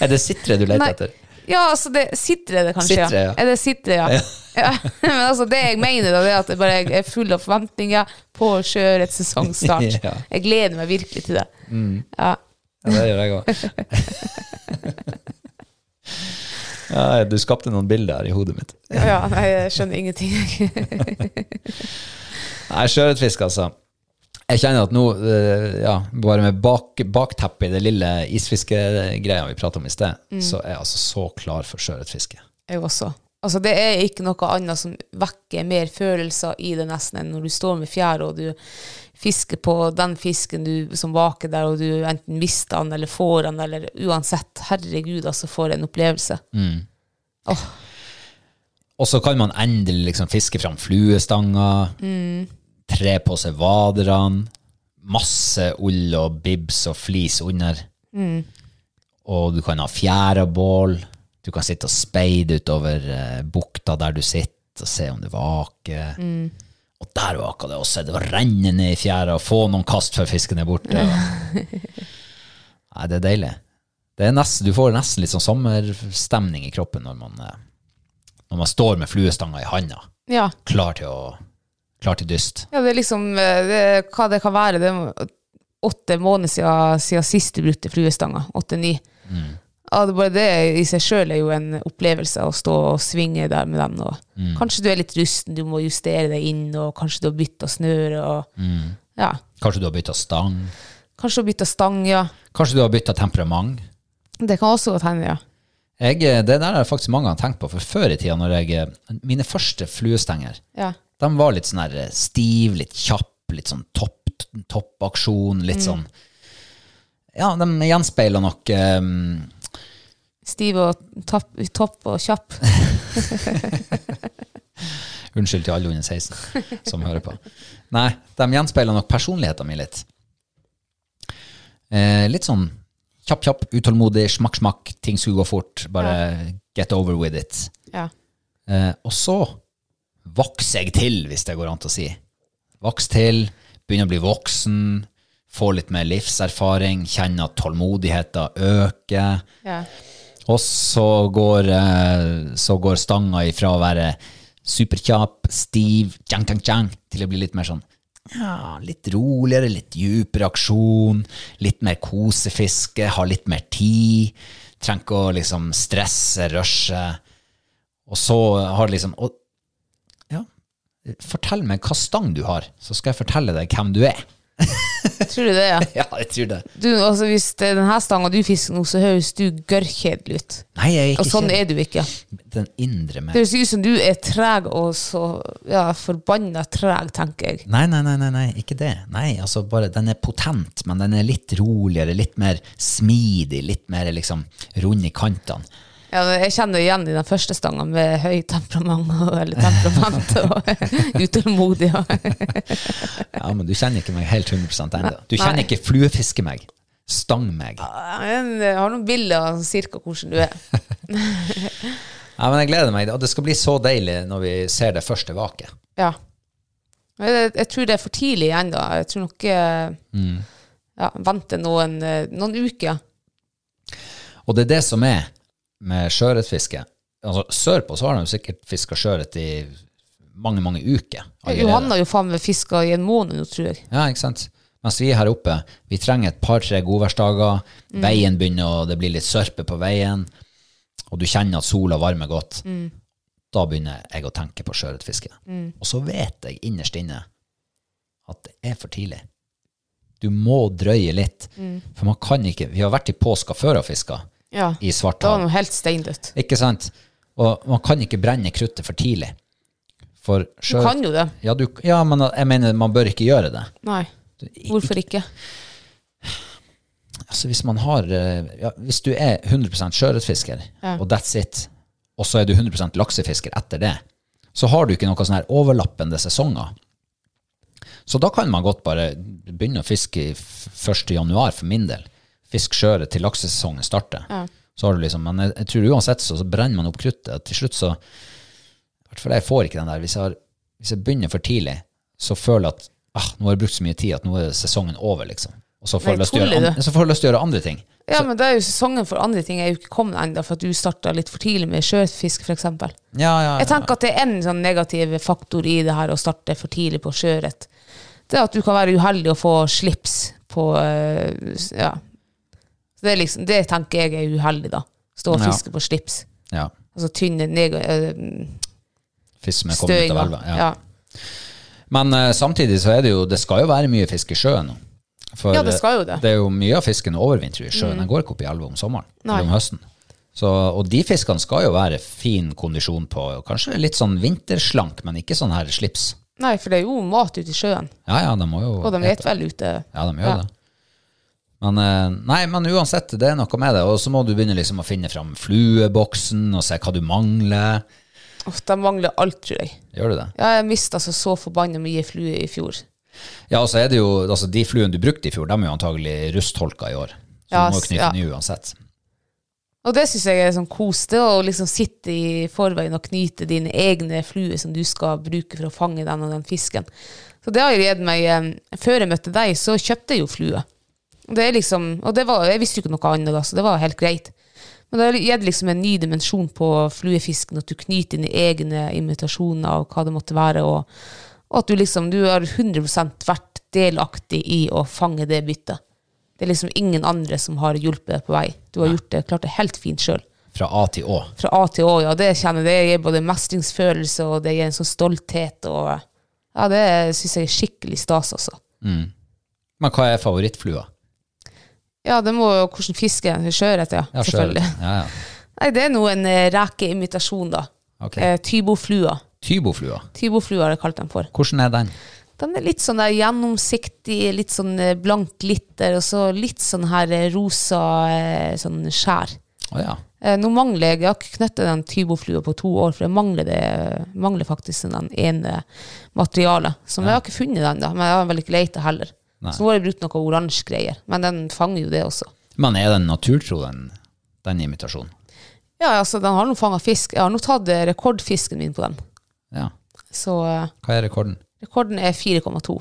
S1: er det sitre du leter
S2: Nei.
S1: etter?
S2: Ja, altså, det, sitre er det kanskje,
S1: Sitre, ja.
S2: Er det sitre, ja.
S1: Ja.
S2: ja. Men altså, det jeg mener, da, det er at jeg bare er full av forventninger på årets sesongstart.
S1: Ja. Mm.
S2: Jeg gleder meg virkelig til det. Ja.
S1: Ja, det gjør jeg òg. ja, du skapte noen bilder her i hodet mitt.
S2: ja, nei, jeg skjønner ingenting.
S1: Nei, sjøørretfisk, altså. Jeg kjenner at nå, eh, ja, bare med bak, bakteppet i det lille isfiskegreia vi prata om i sted,
S2: Mm.
S1: så er jeg altså så klar for sjøørretfiske.
S2: Jeg også. Altså, det er ikke noe annet som vekker mer følelser i det nesten enn når du står med fjære og du fisker på den fisken du, som vaker der, og du enten mister den eller får den, eller uansett. Herregud, altså, for en opplevelse.
S1: Mm. Og så kan man endelig liksom fiske fram fluestanger, tre på seg vaderne, masse ull og bibs og flis under. Og du kan ha fjærabål, du kan sitte og speide utover eh, bukta der du sitter og se om det vaker. Og der vaker det også, det var renne ned i fjæra og få noen kast før fisken er borte. Nei, det er deilig. Det er nesten, du får nesten litt sånn sommerstemning i kroppen når man eh, når man står med fluestanga i handa,
S2: Ja.
S1: klar til, å, klar til dyst.
S2: Ja, det er liksom eh, det, Hva det kan være. Det er åtte måneder siden, siden sist du brukte fluestanga. Åtte-ni.
S1: Mm.
S2: Ja, det, bare det i seg sjøl er jo en opplevelse, å stå og svinge der med den. Og.
S1: Mm.
S2: Kanskje du er litt rusten, du må justere deg inn, og kanskje du har bytta snøre. Og,
S1: Mm.
S2: ja.
S1: Kanskje du har bytta stang.
S2: Kanskje du har bytta stang, ja.
S1: Kanskje du har bytta temperament.
S2: Det kan også godt hende, ja.
S1: Jeg, eh, det der er faktisk mange har tenkt på, for før i tida, når jeg eh, Mine første fluestenger,
S2: ja.
S1: de var litt sånn her eh, stiv, litt kjapp, litt sånn topp, toppaksjon, litt sånn Ja, de gjenspeiler nok eh,
S2: Stiv og tapp, topp og kjapp.
S1: Unnskyld til alle under 16 som hører på. Nei, de gjenspeiler nok personligheten min litt. Eh, litt sånn kjapp, kjapp, utålmodig, smakk, smakk, ting skulle gå fort. Bare get over with it.
S2: Ja.
S1: Eh, og så vokser jeg til, hvis det går an til å si. Vokser til, begynner å bli voksen, får litt mer livserfaring, kjenner at tålmodigheten øker.
S2: ja.
S1: Og så går, eh, så går stanga ifra å være superkjapp, stiv, tjang, tjang, tjang, til å bli litt mer sånn ja, litt roligere, litt djupere aksjon, litt mer kosefiske, ha litt mer tid. Trenger ikke å liksom stresse, rushe. Og så har det liksom og, Ja, fortell meg hva stang du har, så skal jeg fortelle deg hvem du er.
S2: Tror du det, ja?
S1: Ja, jeg tror det.
S2: Du, altså, hvis det er denne stanga du fisker nå, så høres du gørrkjedelig ut.
S1: Nei, jeg er
S2: Og
S1: ikke
S2: sånn
S1: kjent.
S2: er du ikke.
S1: Den indre meg.
S2: Det høres ut som du er treg og så ja, forbanna treg, tenker jeg.
S1: Nei, nei, nei, nei, nei, ikke det. Nei, altså bare, Den er potent, men den er litt roligere, litt mer smidig, litt mer liksom rund i kantene.
S2: Ja, men jeg kjenner jo igjen i den første stanga med høy temperament og, eller temperament og utålmodig. Og,
S1: Ja, men Du kjenner ikke meg helt 100 ennå. Du kjenner ikke fluefiske meg. Stang meg.
S2: Ah. jeg har noen bilder av cirka hvordan du er.
S1: Ja, men Jeg gleder meg, og det skal bli så deilig når vi ser det første vaket.
S2: Ja. Men Jeg, jeg tror det er for tidlig ennå. Jeg tror nok eh, ja, Vente noen, eh, noen uker.
S1: Og det er det som er med sjøørretfiske. Altså, Sørpå så har de jo sikkert fiska sjøørret i mange, mange uker. allerede.
S2: Johan har jo faen meg fiska i en måned nå, tror jeg.
S1: Ja, ikke sant? Mens vi her oppe, vi trenger et par-tre godværsdager,
S2: Mm.
S1: veien begynner, og det blir litt sørpe på veien, og du kjenner at sola varmer godt.
S2: Mm.
S1: Da begynner jeg å tenke på sjøørretfiske. Og så vet jeg innerst inne at det er for tidlig. Du må drøye litt.
S2: Mm.
S1: For man kan ikke Vi har vært i påska før og fiska
S2: Ja.
S1: i
S2: Det var
S1: Svarthavet.
S2: noe helt steindødt.
S1: Ikke sant? Og man kan ikke brenne kruttet for tidlig. For
S2: Du
S1: sjøørret
S2: kan jo det.
S1: ja, du- ja, men jeg mener man bør ikke gjøre det.
S2: Nei. Hvorfor ikke?
S1: Altså hvis man har eh, ja, Hvis du er 100 sjøørretfisker,
S2: Ja.
S1: og that's it, og så er du 100 laksefisker etter det, så har du ikke noen sånne her overlappende sesonger. Så da kan man godt bare begynne å fiske i f- 1. januar, for min del. Fisk sjøørret til laksesesongen starter. Så har du liksom, men jeg, jeg tror uansett så, så brenner man opp kruttet. Til slutt så I hvert fall jeg får ikke den der. Hvis jeg, har, hvis jeg begynner for tidlig, så føler jeg at ah, nå har jeg brukt så mye tid at nå er sesongen over, liksom. Og så får
S2: Nei,
S1: jeg lyst til å
S2: tuller
S1: gjøre an- så får jeg lyst til å gjøre andre ting.
S2: Ja, men da er jo sesongen for andre ting er jo ikke kommet ennå, for at du starta litt for tidlig med sjøfisk, f.eks.
S1: Ja, ja, ja.
S2: Jeg tenker at det er en sånn negativ faktor i det her å starte for tidlig på sjøørret. Det er at du kan være uheldig og få slips på eh, s- Ja. Så det, er liksom, det tenker jeg er uheldig, da. Stå og
S1: Ja.
S2: fiske på slips.
S1: ja.
S2: Altså tynne neg- eh,
S1: Fisk som er kommet ut av
S2: støinger.
S1: elva.
S2: Ja.
S1: Men eh, samtidig så er det jo Det skal jo være mye fisk i sjøen nå. For
S2: Ja, det skal jo det. Mm.
S1: eh, er jo mye av fisken overvintrer i sjøen. Den går ikke opp i elva om sommeren
S2: Nei.
S1: eller om høsten. Så, og de fiskene skal jo være fin kondisjon på. og Kanskje litt sånn vinterslank, men ikke sånn her slips.
S2: Nei, for det er jo mat ute i sjøen,
S1: Ja, ja, de må jo
S2: og de
S1: ete.
S2: vet vel ute
S1: Ja, de gjør
S2: Ja.
S1: det. Men, eh, nei, men uansett, det er noe med det. Og så må du begynne liksom å finne fram flueboksen og se hva du mangler.
S2: Uff, De mangler alt, tror jeg.
S1: Gjør du det?
S2: Ja, jeg mista altså så forbanna mye flue i fjor.
S1: Ja, og så er det jo, altså De fluene du brukte i fjor, de er jo antagelig rustholka i år. Så
S2: Ja,
S1: du må jo
S2: s-
S1: knytte
S2: ja.
S1: den i uansett.
S2: Og det syns jeg er sånn kos, det å liksom sitte i forveien og knyte dine egne fluer som du skal bruke for å fange den og den fisken. Så det har jo gitt meg eh, Før jeg møtte deg, så kjøpte jeg jo flue. Og Det er liksom, og det var, jeg visste jo ikke noe annet da, så det var helt greit. Men det har gitt liksom en ny dimensjon på fluefisken, at du knyter dine egne invitasjoner av hva det måtte være, og, og at du liksom du har 100 vært delaktig i å fange det byttet. Det er liksom ingen andre som har hjulpet deg på vei. Du har gjort det, klart det helt fint sjøl.
S1: Fra A til Å.
S2: Fra A til Å, ja, det kjenner jeg. Det gir både mestringsfølelse, og det gir en sånn stolthet, og ja, det syns jeg er skikkelig stas, altså.
S1: Men hva er favorittflua?
S2: Ja, det må jo hvordan fisken sjøørret, ja.
S1: Ja, sjøørret.
S2: selvfølgelig.
S1: Ja, ja.
S2: Nei, det er nå en eh, rekeimitasjon, da.
S1: Ok.
S2: Eh, Tyboflua.
S1: Tyboflua.
S2: Tyboflua har jeg kalt den for.
S1: Hvordan er den?
S2: Den er litt sånn der gjennomsiktig, litt sånn eh, blank glitter, og så litt sånn her eh, rosa eh, sånn skjær.
S1: Å ja.
S2: Eh, Nå mangler jeg, jeg har ikke knyttet den tyboflua på to år, for jeg mangler, det, mangler faktisk den ene materialet. Som jeg har ikke funnet den da, men jeg har vel ikke leita heller. Så nå har jeg brukt noe oransje greier, men den fanger jo det også.
S1: Men er den naturtro, den, den imitasjonen?
S2: Ja, altså den har nå fanga fisk. Jeg har nå tatt eh, rekordfisken min på den.
S1: Ja.
S2: Så eh,
S1: Hva er rekorden?
S2: rekorden er 4,2.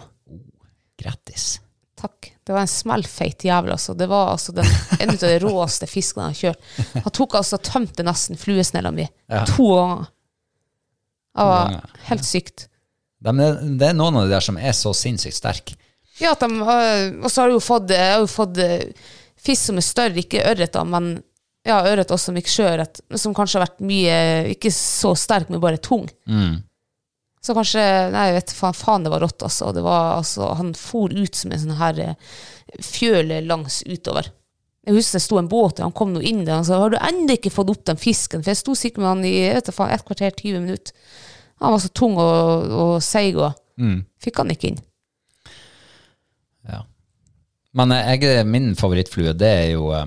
S1: Grattis.
S2: Takk. Det var en smellfeit jævel, altså. Det var altså den, en av de råeste fiskene han kjørt. Han tok altså tømte nesten fluesnella mi to ganger. Det var
S1: ganger,
S2: helt sykt.
S1: De, det er noen av de der som er så sinnssykt sterke.
S2: Ja, at de har, og så har jeg jo fått, jeg har jo fått eh, fisk som er større, ikke ørret da, men ja, ørret også, men ikke sjøørret, som kanskje har vært mye, ikke så sterk, men bare tung.
S1: Mm.
S2: Så kanskje, nei, jeg vet faen, faen det var rått altså, og det var, altså, han for ut som en sånn her eh, fjøle langs utover. Jeg husker det sto en båt, og han kom nå inn der, han sa, har du enda ikke fått opp den fisken? For jeg sto sikkert med han i, jeg vet da faen, et kvarter, 20 minutter. Han var så tung og, og seig, og
S1: Mm.
S2: fikk han ikke inn.
S1: Ja. Men eh, jeg, min favorittflue, det er jo eh,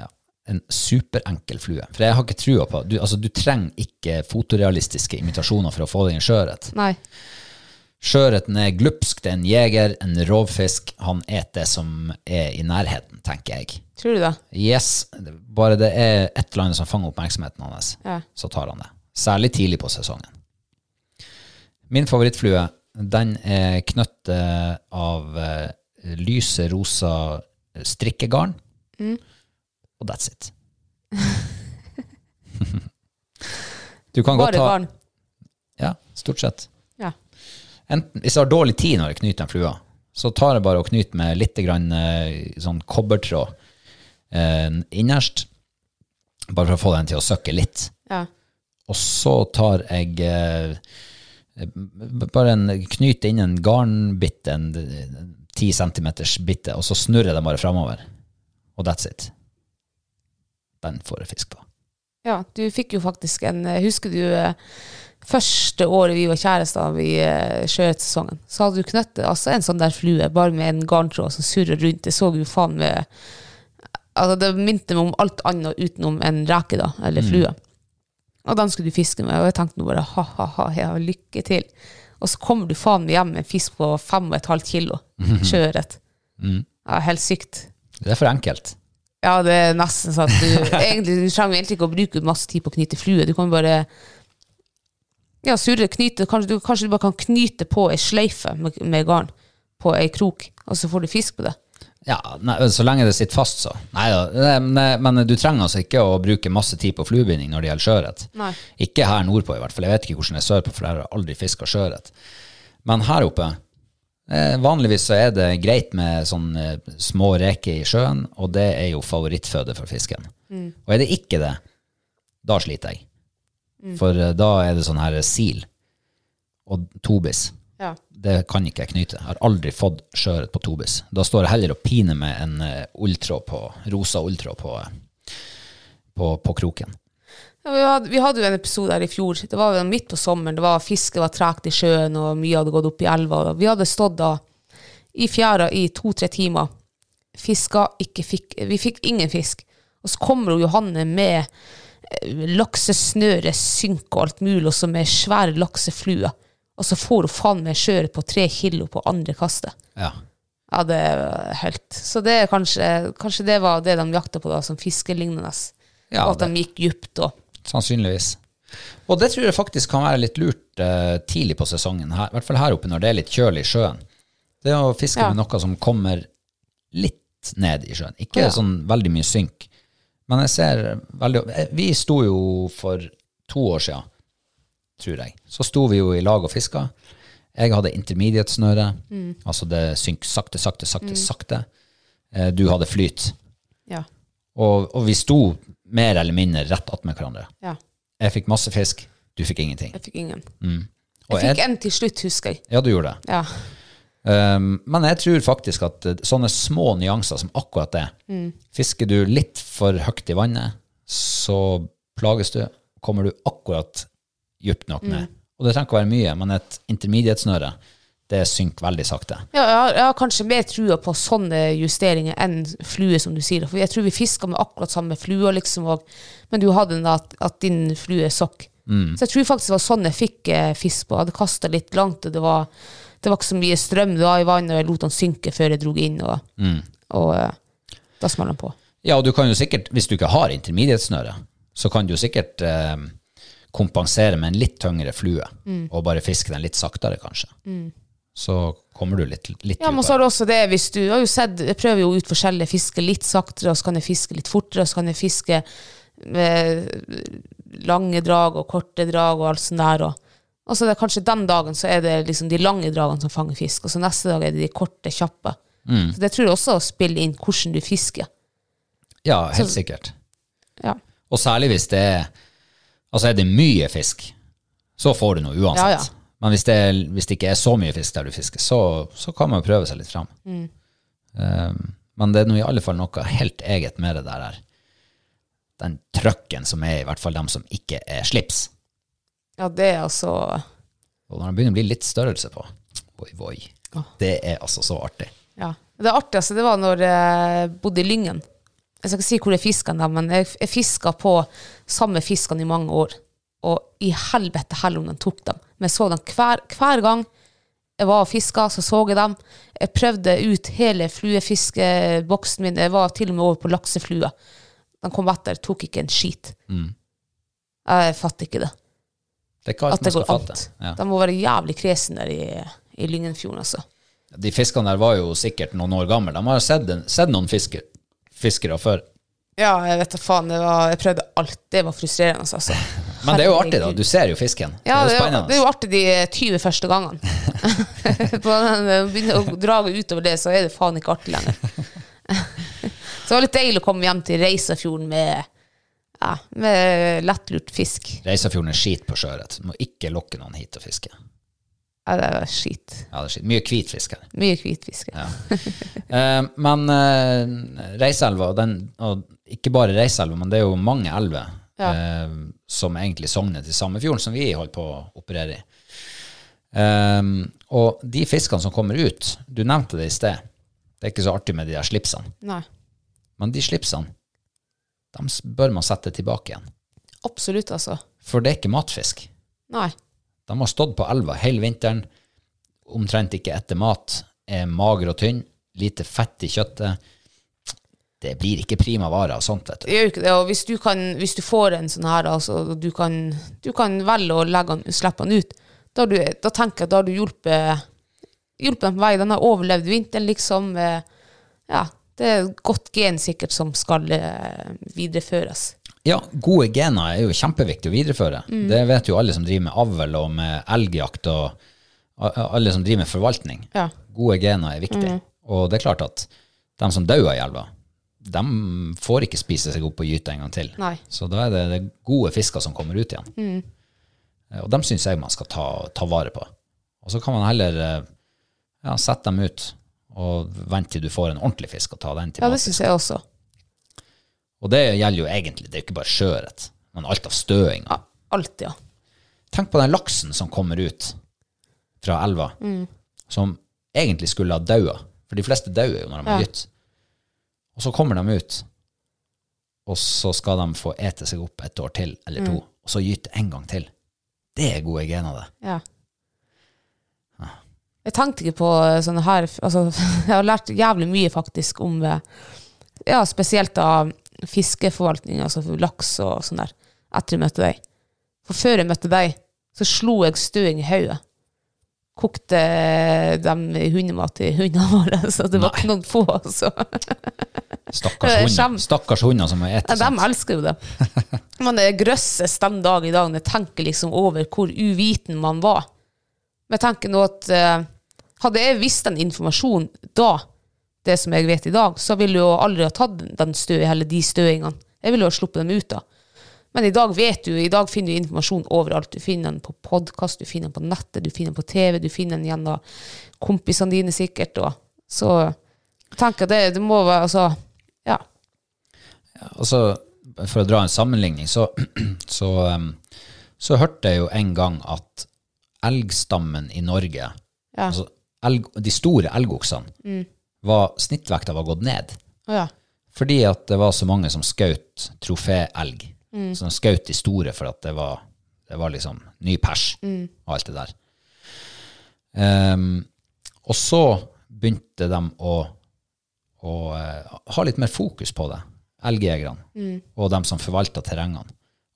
S1: ja, en superenkel flue. For jeg har ikke trua på du, altså, du trenger ikke fotorealistiske imitasjoner for å få deg en sjøørret.
S2: Nei.
S1: Sjøørreten er glupsk, det er en jeger, en rovfisk. Han et det som er i nærheten, tenker jeg.
S2: Tror du det?
S1: Yes, det- bare det er et eller annet som fanger oppmerksomheten hans,
S2: Ja.
S1: så tar han det. Særlig tidlig på sesongen. Min favorittflue, den er knøttet av eh, lyse rosa strikkegarn.
S2: Mm.
S1: Og that's it. du kan
S2: Bare
S1: godt ta
S2: garn.
S1: Ja, stort sett.
S2: Ja.
S1: Enten, hvis jeg har dårlig tid når jeg knyter den flua, så tar jeg bare og knyter med litt grann, eh, sånn kobbertråd eh, innerst, bare for å få den til å søkke litt.
S2: ja.
S1: Og så tar jeg eh, b- bare en knyt inn en garnbitte, en d- ti centimeters bitte, og så snurrer jeg den bare framover. Og that's it. Den får jeg fisk på.
S2: Ja, du fikk jo faktisk en eh, Husker du eh, første året vi var kjærester i eh, sjøørretsesongen? Så hadde du knøttet altså en sånn der flue, bare med en garntråd som surrer rundt. Det så jo faen med Altså, det minte meg om alt annet utenom en reke, da, eller flue. Og den skulle du fiske med, og jeg tenkte nå bare ha-ha-ha, ja, lykke til. Og så kommer du faen meg hjem med en fisk på fem og et halvt kilo sjøørret. Ja, helt sykt.
S1: Det er for enkelt.
S2: Ja, det er nesten sånn at du egentlig, Du trenger egentlig ikke å bruke masse tid på å knyte flue. Du kan bare ja, surre, knyte. Kanskje du, kanskje du bare kan knyte på ei sløyfe med, med garn på ei krok, og så får du fisk på det.
S1: Ja, nei, Så lenge det sitter fast, så. Nei da. det- Men, men du trenger altså ikke å bruke masse tid på fluebinding når det gjelder sjøørret.
S2: Nei.
S1: Ikke her nordpå, i hvert fall. Jeg vet ikke hvordan det er sørpå, for jeg har aldri fiska sjøørret. Men her oppe eh, Vanligvis så er det greit med sånne eh, små reker i sjøen, og det er jo favorittføde for fisken. Og er det ikke det, da sliter jeg. For eh, da er det sånn her sil og tobis.
S2: Ja.
S1: Det kan ikke jeg knyte. Jeg har aldri fått sjøørret på tobis. Da står jeg heller og piner med en eh, ulltråd på, rosa ulltråd på, eh, på, på kroken.
S2: Ja, Vi hadde, vi hadde jo en episode her i fjor. Det var jo midt på sommeren. Det var Fisket var tregt i sjøen, og mye hadde gått opp i elva. og Vi hadde stått da i fjæra i to-tre timer. Fiska ikke fikk Vi fikk ingen fisk. Og så kommer hun Johanne med eh, laksesnøre, synk og alt mulig, og så med svære laksefluer. Og så får hun faen meg sjøørret på tre kilo på andre kastet.
S1: Ja.
S2: Ja, det er helt. Så det er kanskje, kanskje det var det de jakta på da, som fiskelignende.
S1: Ja,
S2: og at de gikk dypt og
S1: Sannsynligvis. Og det tror jeg faktisk kan være litt lurt eh, tidlig på sesongen, her, i hvert fall her oppe når det er litt kjølig i sjøen. Det er å fiske
S2: Ja.
S1: med noe som kommer litt ned i sjøen. Ikke
S2: Ja.
S1: sånn veldig mye synk. Men jeg ser veldig eh, Vi sto jo for to år siden, tror jeg. Så sto vi jo i lag og fiska. Jeg hadde intermediate-snøre,
S2: Mm.
S1: altså det synker sakte, sakte, sakte, sakte. Eh, Du hadde flyt.
S2: Ja.
S1: Og, og vi sto mer eller mindre rett attmed hverandre.
S2: ja.
S1: Jeg fikk masse fisk, du fikk ingenting.
S2: Jeg fikk ingen.
S1: Og
S2: Jeg fikk
S1: jeg,
S2: en til slutt, husker jeg.
S1: ja, du gjorde det.
S2: Ja.
S1: Um, men jeg tror faktisk at eh, sånne små nyanser som akkurat det
S2: Mm.
S1: Fisker du litt for høyt i vannet, så plages du. Kommer du akkurat dypt nok ned.
S2: Mm.
S1: Og det trenger ikke å være mye, men et intermediate-snøre, det synker veldig sakte.
S2: Ja, jeg, har, jeg har kanskje mer trua på sånne justeringer enn flue, som du sier. For jeg tror vi fiska med akkurat samme flua, liksom, og, men du hadde den da at, at din flue sokk. Så jeg tror faktisk det var sånn jeg fikk eh, fisk på. Jeg hadde kasta litt langt, og det var, det var ikke så mye strøm da i vannet, og jeg lot den synke før jeg dro inn, og, og, eh, da smalt den på.
S1: Ja, og du kan jo sikkert, hvis du ikke har intermediate-snøre, så kan du jo sikkert eh, kompensere med en litt tyngre flue,
S2: Mm.
S1: og bare fiske den litt saktere, kanskje. Så kommer du litt, litt
S2: Ja, men
S1: dypere.
S2: så har du også det, hvis du jeg har jo sett, jeg prøver jo ut forskjellige fiske litt saktere, og så kan jeg fiske litt fortere, og så kan jeg fiske med lange drag og korte drag og alt sånt der. Og, og så er det kanskje den dagen så er det liksom de lange dragene som fanger fisk, og så neste dag er det de korte, kjappe. Så det tror jeg også spiller inn hvordan du fisker.
S1: Ja, helt sikkert.
S2: Ja,
S1: Og særlig hvis det er Altså er det mye fisk, så får du noe uansett.
S2: Ja, ja.
S1: Men hvis det, er- hvis det ikke er så mye fisk der du fisker, så, så kan man jo prøve seg litt fram.
S2: Mm.
S1: Um, men det er nå i alle fall noe helt eget med det der her. Den trøkken som er i hvert fall dem som ikke er slips.
S2: ja det er altså
S1: Og når den begynner å bli litt størrelse på, voi, voi. Det er altså så artig.
S2: Ja. Det artigste det var når jeg bodde i Lyngen. Jeg skal ikke si hvor jeg fiska den, men jeg, jeg fiska på samme fiskene i mange år. Og i helvete heller om den tok dem. Men jeg så dem hver, hver gang jeg var og fiska, så så jeg dem. Jeg prøvde ut hele fluefiskeboksen min. Jeg var til og med over på lakseflua. Den kom etter, tok ikke en skit. Jeg fatter ikke det.
S1: Mm. Det er ikke alt
S2: At det
S1: man
S2: går
S1: skal fatte.
S2: alt.
S1: Ja.
S2: De må være jævlig kresen der i, i Lyngenfjorden, altså.
S1: De fiskene der var jo sikkert noen år gamle. De har sett, en- sett noen fisker, fiskere før.
S2: Ja, jeg vet da faen. Det var, jeg prøvde alt. Det var frustrerende, altså.
S1: Men det er jo artig, da. Du ser jo fisken.
S2: Ja,
S1: det er
S2: det
S1: jo
S2: er,
S1: spennende. altså.
S2: det er jo artig de 20 første gangene. På den, eh, Begynner å dra utover det, så er det faen ikke artig lenger. så det var litt deilig å komme hjem til Reisafjorden med, ja, med lettlurt fisk.
S1: Reisafjorden er skit på sjøørret. Du Må ikke lokke noen hit og fiske.
S2: Ja, det var skit.
S1: Ja, det er skit. Mye hvitfisk her.
S2: Mye hvitfisk. Ja.
S1: Eh, men eh, Reiselva, og den, og ikke bare Reiselva, men det er jo mange elver
S2: Ja.
S1: eh, som egentlig sogner til samme fjorden som vi holder på å operere i. Eh, og de fiskene som kommer ut, du nevnte det i sted, det er ikke så artig med de der slipsene,
S2: Nei,
S1: men de slipsene, de s- bør man sette tilbake igjen.
S2: absolutt, altså.
S1: For det er ikke matfisk.
S2: Nei.
S1: De har stått på elva hele vinteren, omtrent ikke etter mat, er mager og tynn, lite fett i kjøttet. Det blir ikke prima vare av sånt, vet du.
S2: Det gjør jo ikke det. Og hvis du, kan, hvis du får en sånn her, altså, og du, kan, du kan velge å legge den, slippe den ut, da, har du, da tenker jeg at da har du hjulpet, hjulpet dem på vei. Den har overlevd vinteren, liksom. eh, ja, det er et godt gen sikkert som skal eh, videreføres.
S1: Ja, gode gener er jo kjempeviktig å videreføre. Det vet jo alle som driver med avl og med elgjakt, og a- alle som driver med forvaltning.
S2: Ja.
S1: Gode gener er viktig.
S2: Mm.
S1: Og det er klart at de som dauer i elva, de får ikke spise seg opp på gyte en gang til.
S2: Nei. Mm.
S1: Så da er det, det gode fisker som kommer ut igjen. Eh, Og dem syns jeg man skal ta, ta vare på. Og så kan man heller eh, ja, sette dem ut og vente til du får en ordentlig fisk og ta den til
S2: Ja, det
S1: matfisk.
S2: syns jeg også.
S1: Og det gjelder jo egentlig, det er jo ikke bare sjøørret, men alt av støinger.
S2: Ja, alt, ja.
S1: Tenk på den laksen som kommer ut fra elva,
S2: Mm.
S1: som egentlig skulle ha daua. For de fleste dauer jo når de
S2: Ja.
S1: er gytt. Og så kommer de ut, og så skal de få ete seg opp et år til eller
S2: Mm.
S1: to, og så gyte en gang til. Det er gode gener, det.
S2: ja. Jeg tenkte ikke på eh, sånne her altså, Jeg har lært jævlig mye faktisk om eh, ja, spesielt av fiskeforvaltning, altså for laks og sånn der, etter jeg møtte deg. For før jeg møtte deg, så slo jeg støing i hodet. Kokte eh, dem i hundemat til hundene våre, så det var ikke noen få. Altså.
S1: Stakkars
S2: Jeg skjem-
S1: hunder, Stakkars hunder som er
S2: Ja,
S1: ete.
S2: de
S1: sånt.
S2: elsker jo det. Men det grøsses den dag i dag når jeg tenker liksom over hvor uviten man var. Men jeg tenker nå at eh, hadde jeg visst den informasjonen da, det som jeg vet i dag, så ville jeg jo aldri ha tatt den stø, eller de støingene. Jeg ville jo ha sluppet dem ut da. Men i dag vet du, i dag finner du informasjon overalt. Du finner den på podkast, du finner den på nettet, du finner den på TV, du finner den gjennom kompisene dine sikkert. Og. Så jeg tenker det, det må være altså, ja.
S1: Altså, for å dra en sammenligning, så, så, um, så hørte jeg jo en gang at elgstammen i Norge,
S2: Ja.
S1: altså elg, de store elgoksene, var, snittvekta var gått ned.
S2: Å ja.
S1: Fordi at det var så mange som skjøt troféelg. Som skjøt de store for at det var, det var liksom ny pers og alt det der. Ehm, og så begynte de å, å eh, ha litt mer fokus på det, elgjegerne og de som forvalta terrengene.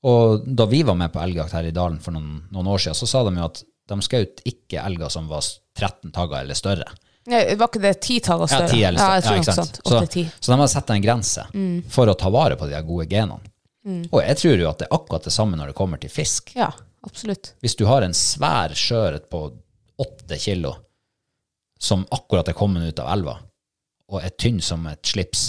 S1: Og da vi var med på elgjakt her i dalen for noen, noen år siden, så sa de jo at de skjøt ikke elger som var 13 tagger eller større.
S2: Nei, var ikke det ti tall og
S1: Ja,
S2: større?
S1: ti eller
S2: ja, jeg tror
S1: ja,
S2: nok
S1: ikke
S2: sånt.
S1: sant?
S2: Åtte, ti. Mm.
S1: Så, så de har satt en grense for å ta vare på de her gode genene. Og jeg tror jo at det er akkurat det samme når det kommer til fisk.
S2: Ja, absolutt.
S1: Hvis du har en svær sjøørret på åtte kilo som akkurat er kommet ut av elva, og er tynn som et slips,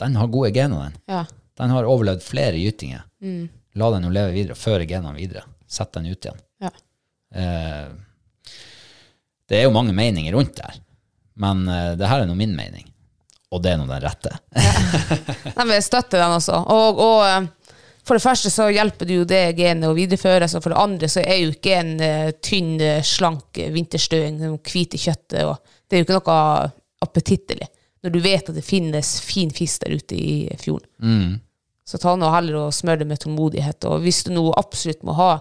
S1: den har gode gener, den.
S2: Ja.
S1: Den har overlevd flere gytinger.
S2: Mm.
S1: La den jo leve videre, føre genene videre. Sett den ut igjen.
S2: Ja.
S1: Eh, det er jo mange meninger rundt det her, men eh, det her er nå min mening. Og det er nå den rette.
S2: Nei, men jeg støtter den også. Og, og eh, for det første så hjelper det jo det genet å videreføres, og for det andre så er jo ikke en eh, tynn, eh, slank eh, vinterstøing, den hvite kjøttet, og det er jo ikke noe appetittlig når du vet at det finnes fin fisk der ute i fjorden. Så ta nå heller og smør det med tålmodighet. Og hvis du nå absolutt må ha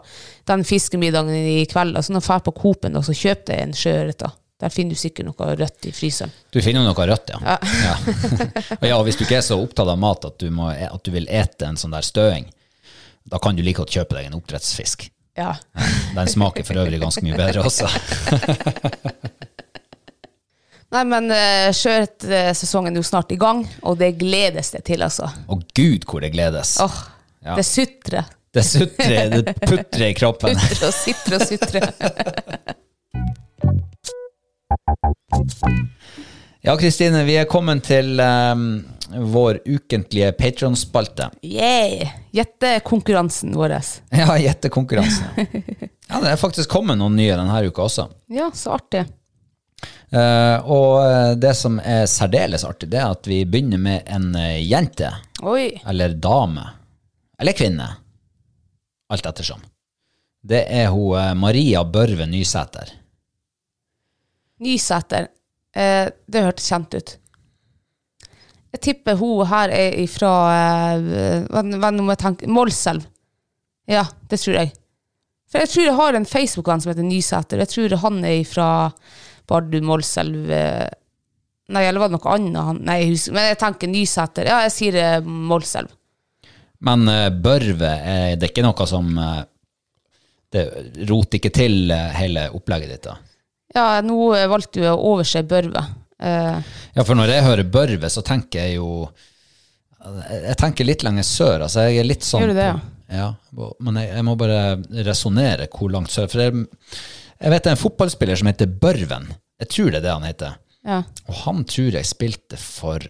S2: den fiskemiddagen i kveld, så nå fær på Coop-en og så kjøp deg en sjøørret. da. Der finner du sikkert noe rødt i fryseren.
S1: Du finner jo noe rødt, ja. ja. og ja, og hvis du ikke er så opptatt av mat at du, må, e, at du vil ete en sånn der støing, da kan du like godt kjøpe deg en oppdrettsfisk.
S2: Ja.
S1: Den smaker for øvrig ganske mye bedre også.
S2: Nei, men uh, sjøørretsesongen er jo snart i gang, og det gledes det til, altså.
S1: Og gud, hvor det gledes.
S2: Åh,
S1: Ja.
S2: Det sutrer.
S1: Det sutrer, det putrer i kroppen.
S2: Sutrer og sutrer og sutrer.
S1: Ja, Kristine, vi er kommet til ehm, vår ukentlige Patron-spalte.
S2: Yeah! Gjettekonkurransen vår.
S1: Ja, gjettekonkurransen. Ja, det er faktisk kommet noen nye denne uka også.
S2: Ja, så artig.
S1: Eh, og eh, det som er særdeles artig, det er at vi begynner med en eh, jente,
S2: Oi.
S1: eller dame, eller kvinne, alt ettersom. Det er hun eh, Maria Børve Nysæter.
S2: Nysæter. Eh, det hørtes kjent ut. Jeg tipper hun her er ifra eh, hva, hva nå må jeg tenke Målselv. Ja, det tror jeg. For jeg tror jeg har en Facebook-venn som heter Nysæter. Jeg tror han er ifra Bardu, Målselv eh, Nei, eller var det noe annet? Han, nei, jeg husker, men jeg tenker Nysæter. Ja, jeg sier eh, Målselv.
S1: Men eh, Børve, eh, det er ikke noe som eh, Det roter ikke til eh, hele opplegget ditt, da.
S2: Ja, nå eh, valgte du å overse Børve. Eh,
S1: Ja, for når jeg hører Børve, så tenker jeg jo Jeg tenker litt lenger sør. Altså, jeg er litt sånn
S2: Gjør du det, ja?
S1: ja? og- Men jeg, jeg må bare resonnere hvor langt sør. For jeg, jeg vet det er en fotballspiller som heter Børven. Jeg tror det er det han heter.
S2: ja.
S1: Og han tror jeg spilte for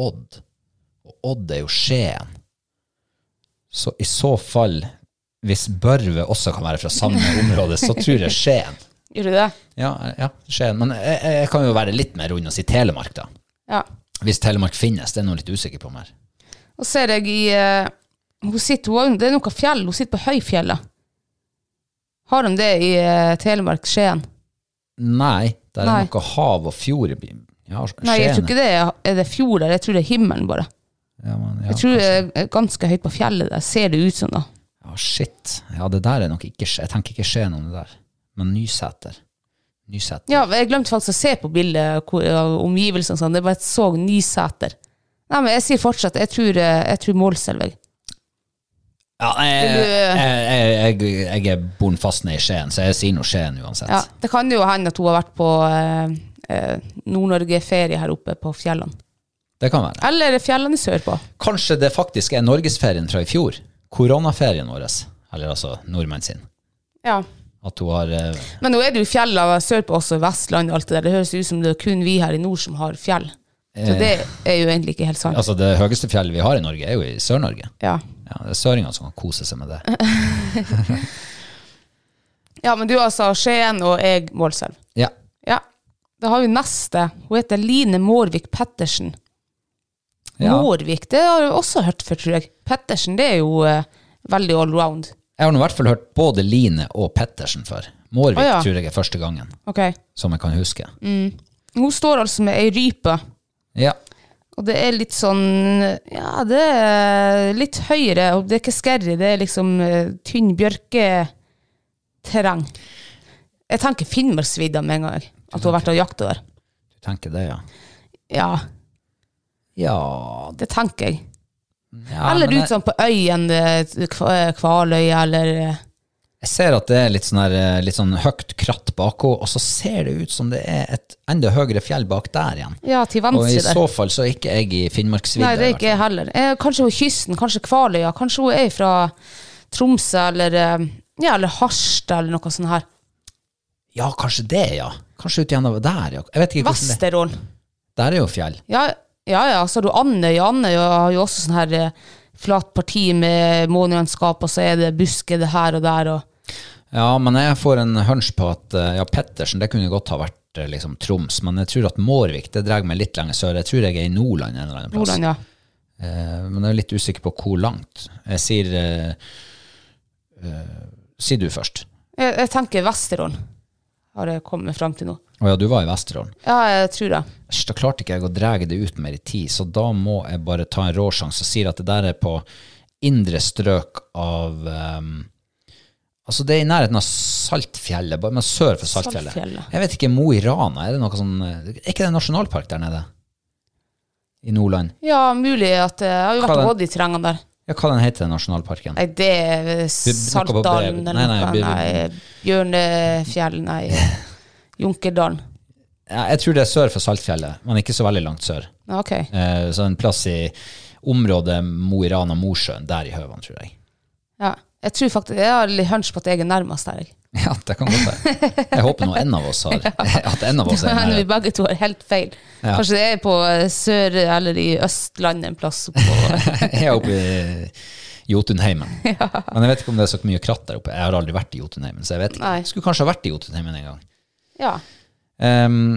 S1: Odd. Og Odd er jo Skien. Så i så fall, hvis Børve også kan være fra samme område, så tror jeg Skien.
S2: Gjør du det?
S1: Ja, ja Skien. Men jeg, jeg kan jo være litt mer rund og si Telemark, da.
S2: Ja.
S1: Hvis Telemark finnes, det er jeg nå litt usikker på mer.
S2: Og ser jeg i eh, hun sitter, hun, har- Det er noe fjell. Hun sitter på høyfjellet. Har de det i eh, Telemark, Skien?
S1: Nei, der
S2: Nei.
S1: er noe hav og fjord i by- ja,
S2: Nei, jeg tror ikke det er, er det fjord der. Jeg tror det er himmelen, bare.
S1: Ja, men, ja,
S2: Jeg tror eh, det er ganske høyt på fjellet der. Ser det ut som, da.
S1: ja, shit. Ja, det der er nok ikke Skien. Jeg tenker ikke Skien om det der. Men Nysæter. Nysæter.
S2: Ja, men jeg glemte faktisk å se på bildet hvor- av omgivelsene. og Sånn. Det bare så Nysæter. Nei, men jeg sier fortsatt Jeg tror, eh, jeg tror Målselv. jeg.
S1: Ja, jeg,
S2: Vil du- eh,
S1: jeg, jeg, jeg er born fast ned i Skien, så jeg sier nå Skien uansett.
S2: Ja, det kan jo hende at hun har vært på eh, eh, Nord-Norge-ferie her oppe på fjellene.
S1: Det kan være.
S2: Eller fjellene sørpå.
S1: Kanskje det faktisk er norgesferien fra i fjor. Koronaferien vår. Eller altså nordmenn sin.
S2: Ja.
S1: At hun har eh,
S2: Men nå er det jo fjellene sørpå også, Vestland og alt det der. Det høres ut som det er kun vi her i nord som har fjell. Så det er jo egentlig ikke helt sant.
S1: Eh. Altså, det høyeste fjellet vi har i Norge, er jo i Sør-Norge.
S2: Ja.
S1: Ja, det er søringene som kan kose seg med
S2: Eh.
S1: det.
S2: ja, men du altså Skien og jeg Målselv.
S1: Ja.
S2: Ja. Da har vi neste. Hun heter Line Mårvik Pettersen.
S1: ja.
S2: Mårvik, det har jeg også hørt før, tror jeg. Pettersen, det er jo eh, veldig allround.
S1: Jeg har nå i hvert fall hørt både Line og Pettersen før. Mårvik
S2: Å, ja. Mm.
S1: tror jeg er første gangen,
S2: Ok.
S1: som jeg kan huske.
S2: Hun står altså med ei rype,
S1: Ja.
S2: og det er litt sånn Ja, det er litt høyere, og det er ikke skerry, det er liksom eh, tynn bjørketerreng. Jeg tenker Finnmarksvidda med en gang, jeg, at hun har vært og jakta der.
S1: Du tenker det, ja.
S2: Ja,
S1: Ja,
S2: det tenker jeg.
S1: ja
S2: eller
S1: men
S2: ut sånn på øyen, eh, Kva- Kvaløya, eller eh,
S1: Jeg ser at det er litt sånn, her, eh, litt sånn høyt kratt bak henne, og så ser det ut som det er et enda høyere fjell bak der igjen.
S2: Ja, til
S1: Og i
S2: venstre der.
S1: så fall så er ikke jeg i Finnmarksvidda. i
S2: Nei, det er
S1: hvert
S2: ikke jeg heller. Eh, kanskje hun er kysten, kanskje Kvaløya. Kanskje hun er fra Tromsø eller, eh, ja, eller Harstad eller noe sånt her.
S1: fall. Ja, kanskje det, ja. Kanskje ut gjennom der, ja. Jeg vet ikke hvordan det
S2: Vesterålen.
S1: Der er jo fjell.
S2: Ja, ja, ja. Så har du Andøya. Andøya har jo også sånn her eh, flat parti med månelandskap, og så er det buskede her og der. Og,
S1: Ja, men jeg får en hunch på at eh, ja, Pettersen, det kunne godt ha vært eh, liksom Troms, men jeg tror at Mårvik, det drar meg litt lenger sør. Jeg tror jeg er i Nordland en eller annen plass.
S2: Nordland, ja.
S1: Eh, men jeg er litt usikker på hvor langt. Jeg sier eh, eh, Si du først.
S2: Jeg, jeg tenker Vesterålen har jeg kommet fram til nå.
S1: Å ja, du var i Vesterålen.
S2: Ja, jeg tror det.
S1: Æsj, da klarte ikke jeg å dra det ut mer i tid, så da må jeg bare ta en råsjanse og si at det der er på indre strøk av ehm, Altså, det er i nærheten av Saltfjellet, bare- men sør for Saltfjellet.
S2: Saltfjellet.
S1: Jeg vet ikke, Mo i Rana, er det noe sånn eh, Er ikke det en nasjonalpark der nede? I Nordland?
S2: Ja, mulig at eh, Jeg har jo
S1: Hva
S2: vært
S1: den-
S2: og gått i terrengene der.
S1: Ja, hva den heter den nasjonalparken?
S2: Nei, det er eh,
S1: noe på
S2: Saltdalen
S1: brev.
S2: eller
S1: Nei,
S2: noe.
S1: nei,
S2: Nei,
S1: vi-
S2: Bjørnefjell, nei. Junkerdalen.
S1: Ja, jeg tror det er sør for Saltfjellet, men ikke så veldig langt sør.
S2: Ja, Ok.
S1: Eh, så en plass i området Mo i Rana, Mosjøen, der i Høvan, tror jeg.
S2: Ja. Jeg tror faktisk, jeg har litt hunch på at jeg er nærmest der. jeg.
S1: Ja, det kan godt være. Jeg håper nå en av oss har At en av oss er
S2: Men vi
S1: nær.
S2: begge to er helt feil.
S1: Ja.
S2: Kanskje det er på eh, Sør- eller i Østlandet en plass. På.
S1: Jeg er oppe i Jotunheimen. Men jeg vet ikke om det er så mye kratt der oppe. Jeg har aldri vært i Jotunheimen, så jeg vet ikke.
S2: Nei.
S1: Jeg skulle kanskje ha vært i Jotunheimen en gang.
S2: ja.
S1: Ehm,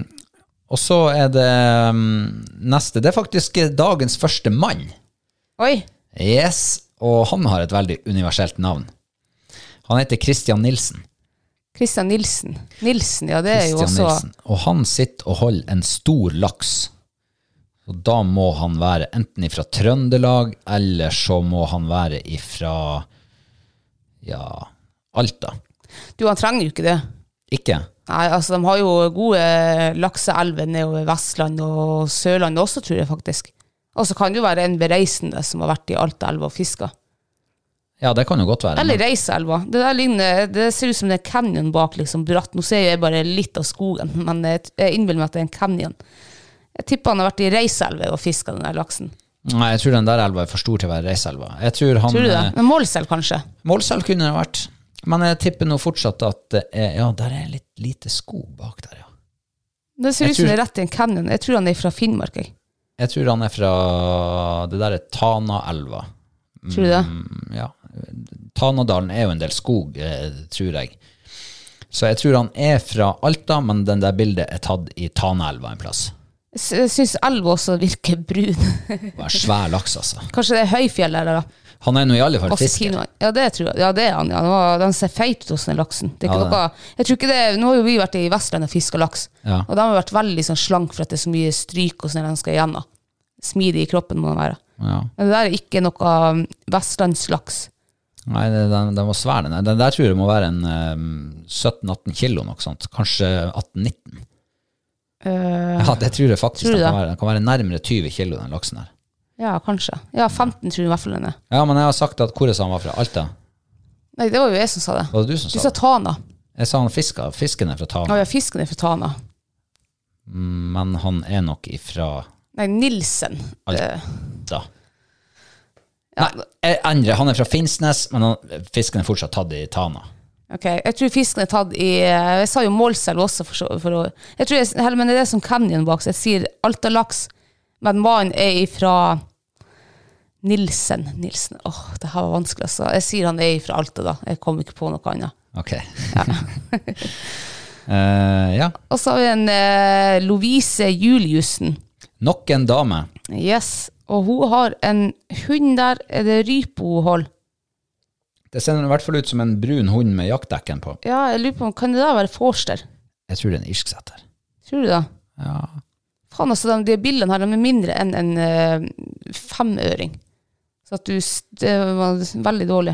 S1: og så er det ehm, neste. Det er faktisk dagens første mann.
S2: Oi.
S1: Yes, og han har et veldig universelt navn. Han heter Christian Nilsen.
S2: Christian Nilsen. Nilsen, ja, det er jo
S1: Christian
S2: også
S1: Nilsen. Og han sitter og holder en stor laks. Og da må han være enten ifra Trøndelag, eller så må han være ifra ja, Alta.
S2: Du, han trenger jo ikke det.
S1: Ikke?
S2: Nei, altså, de har jo gode lakseelver nedover Vestland og Sørlandet også, tror jeg faktisk. Og så kan det jo være en bereisende som har vært i Altaelva og fiska.
S1: Ja, det kan jo godt være.
S2: Eller
S1: men-
S2: Reiselva. Det der ligner, det ser ut som det er en canyon bak liksom, bratt. Nå ser jeg bare litt av skogen, men jeg jeg innbiller meg at det er en canyon. Jeg tipper han har vært i Reiselva og fiska den der laksen.
S1: Nei, jeg tror den der elva er for stor til å være reiselva. Jeg tror han
S2: Tror du det?
S1: eh,
S2: Men Målselv, kanskje?
S1: Målselv kunne det vært. Men jeg tipper nå fortsatt at eh, Ja, der er litt lite skog bak der, ja.
S2: Det ser
S1: Jeg
S2: ut som
S1: tror-
S2: det er rett i en canyon. Jeg tror han er fra Finnmark. Jeg.
S1: Jeg tror han er fra Det der er Tanaelva.
S2: Tror du det?
S1: Mm, Ja. Tanadalen er jo en del skog, eh, tror jeg. Så jeg tror han er fra Alta, men den der bildet er tatt i Tanaelva en plass.
S2: Jeg sy- Jeg syns elva også virker brun.
S1: Det var en svær laks, altså.
S2: Kanskje det er høyfjell der, da.
S1: Han er nå i alle fall
S2: Også
S1: fisker.
S2: kinoen. Ja, det tror jeg. Ja, det er han. Ja. Han var- Den ser feit ut hos den laksen. Det er ikke
S1: Ja, det.
S2: noe, jeg tror ikke det, nå har jo vi vært i Vestlandet og fiska laks,
S1: Ja.
S2: og da har vi vært veldig sånn slank for at det er så mye stryk og sånn når den skal igjennom. Smidig i kroppen må den være.
S1: Ja.
S2: Men det der er ikke noe um, vestlandslaks.
S1: Nei, det- den, den var svær, den der. Den der tror jeg må være en eh, 17-18 kilo, noe sånt. Kanskje 18-19.
S2: Eh,
S1: Ja, det tror jeg faktisk
S2: Tror du
S1: den kan
S2: det?
S1: være. Den kan være nærmere 20 kilo, den laksen her.
S2: ja, kanskje. Ja, 15 tror jeg i hvert fall den er.
S1: Ja, men jeg har sagt at hvor er han var fra? Alta?
S2: Nei, det var jo jeg som sa det.
S1: Var det du som
S2: Du
S1: sa
S2: sa
S1: det?
S2: Tana.
S1: Jeg sa han fiska. Fisken er fra
S2: Ja,
S1: Tana,
S2: ja, fisken er fra Tana.
S1: Mm, men han er nok ifra
S2: Nei, Nilsen.
S1: Alta.
S2: Ja,
S1: Nei, jeg endrer. Han er fra Finnsnes, men han, fisken er fortsatt tatt i Tana.
S2: Ok, Jeg tror fisken er tatt i eh, Jeg sa jo Målselv også. For, så- for å, jeg tror jeg, heller, men det er det som canyon bak, så jeg sier Alta-laks. Men mannen er ifra Nilsen. Nilsen, åh, det her var vanskelig, altså. Jeg sier han er ifra Alta, da. Jeg kom ikke på noe annet.
S1: Ok. Eh, ja.
S2: Og så har vi en eh, Lovise Juliussen.
S1: Nok en dame.
S2: Yes. Og hun har en hund der. Er det rype hun holder?
S1: Det ser i hvert fall ut som en brun hund med jaktdekken på.
S2: Ja, jeg lurer på, om- kan det da være forster?
S1: Jeg tror det er en irsk setter.
S2: Tror du det?
S1: Ja.
S2: Faen, altså, de, de bildene her, de er mindre enn en eh, femøring. Så at du s- Det var veldig dårlig.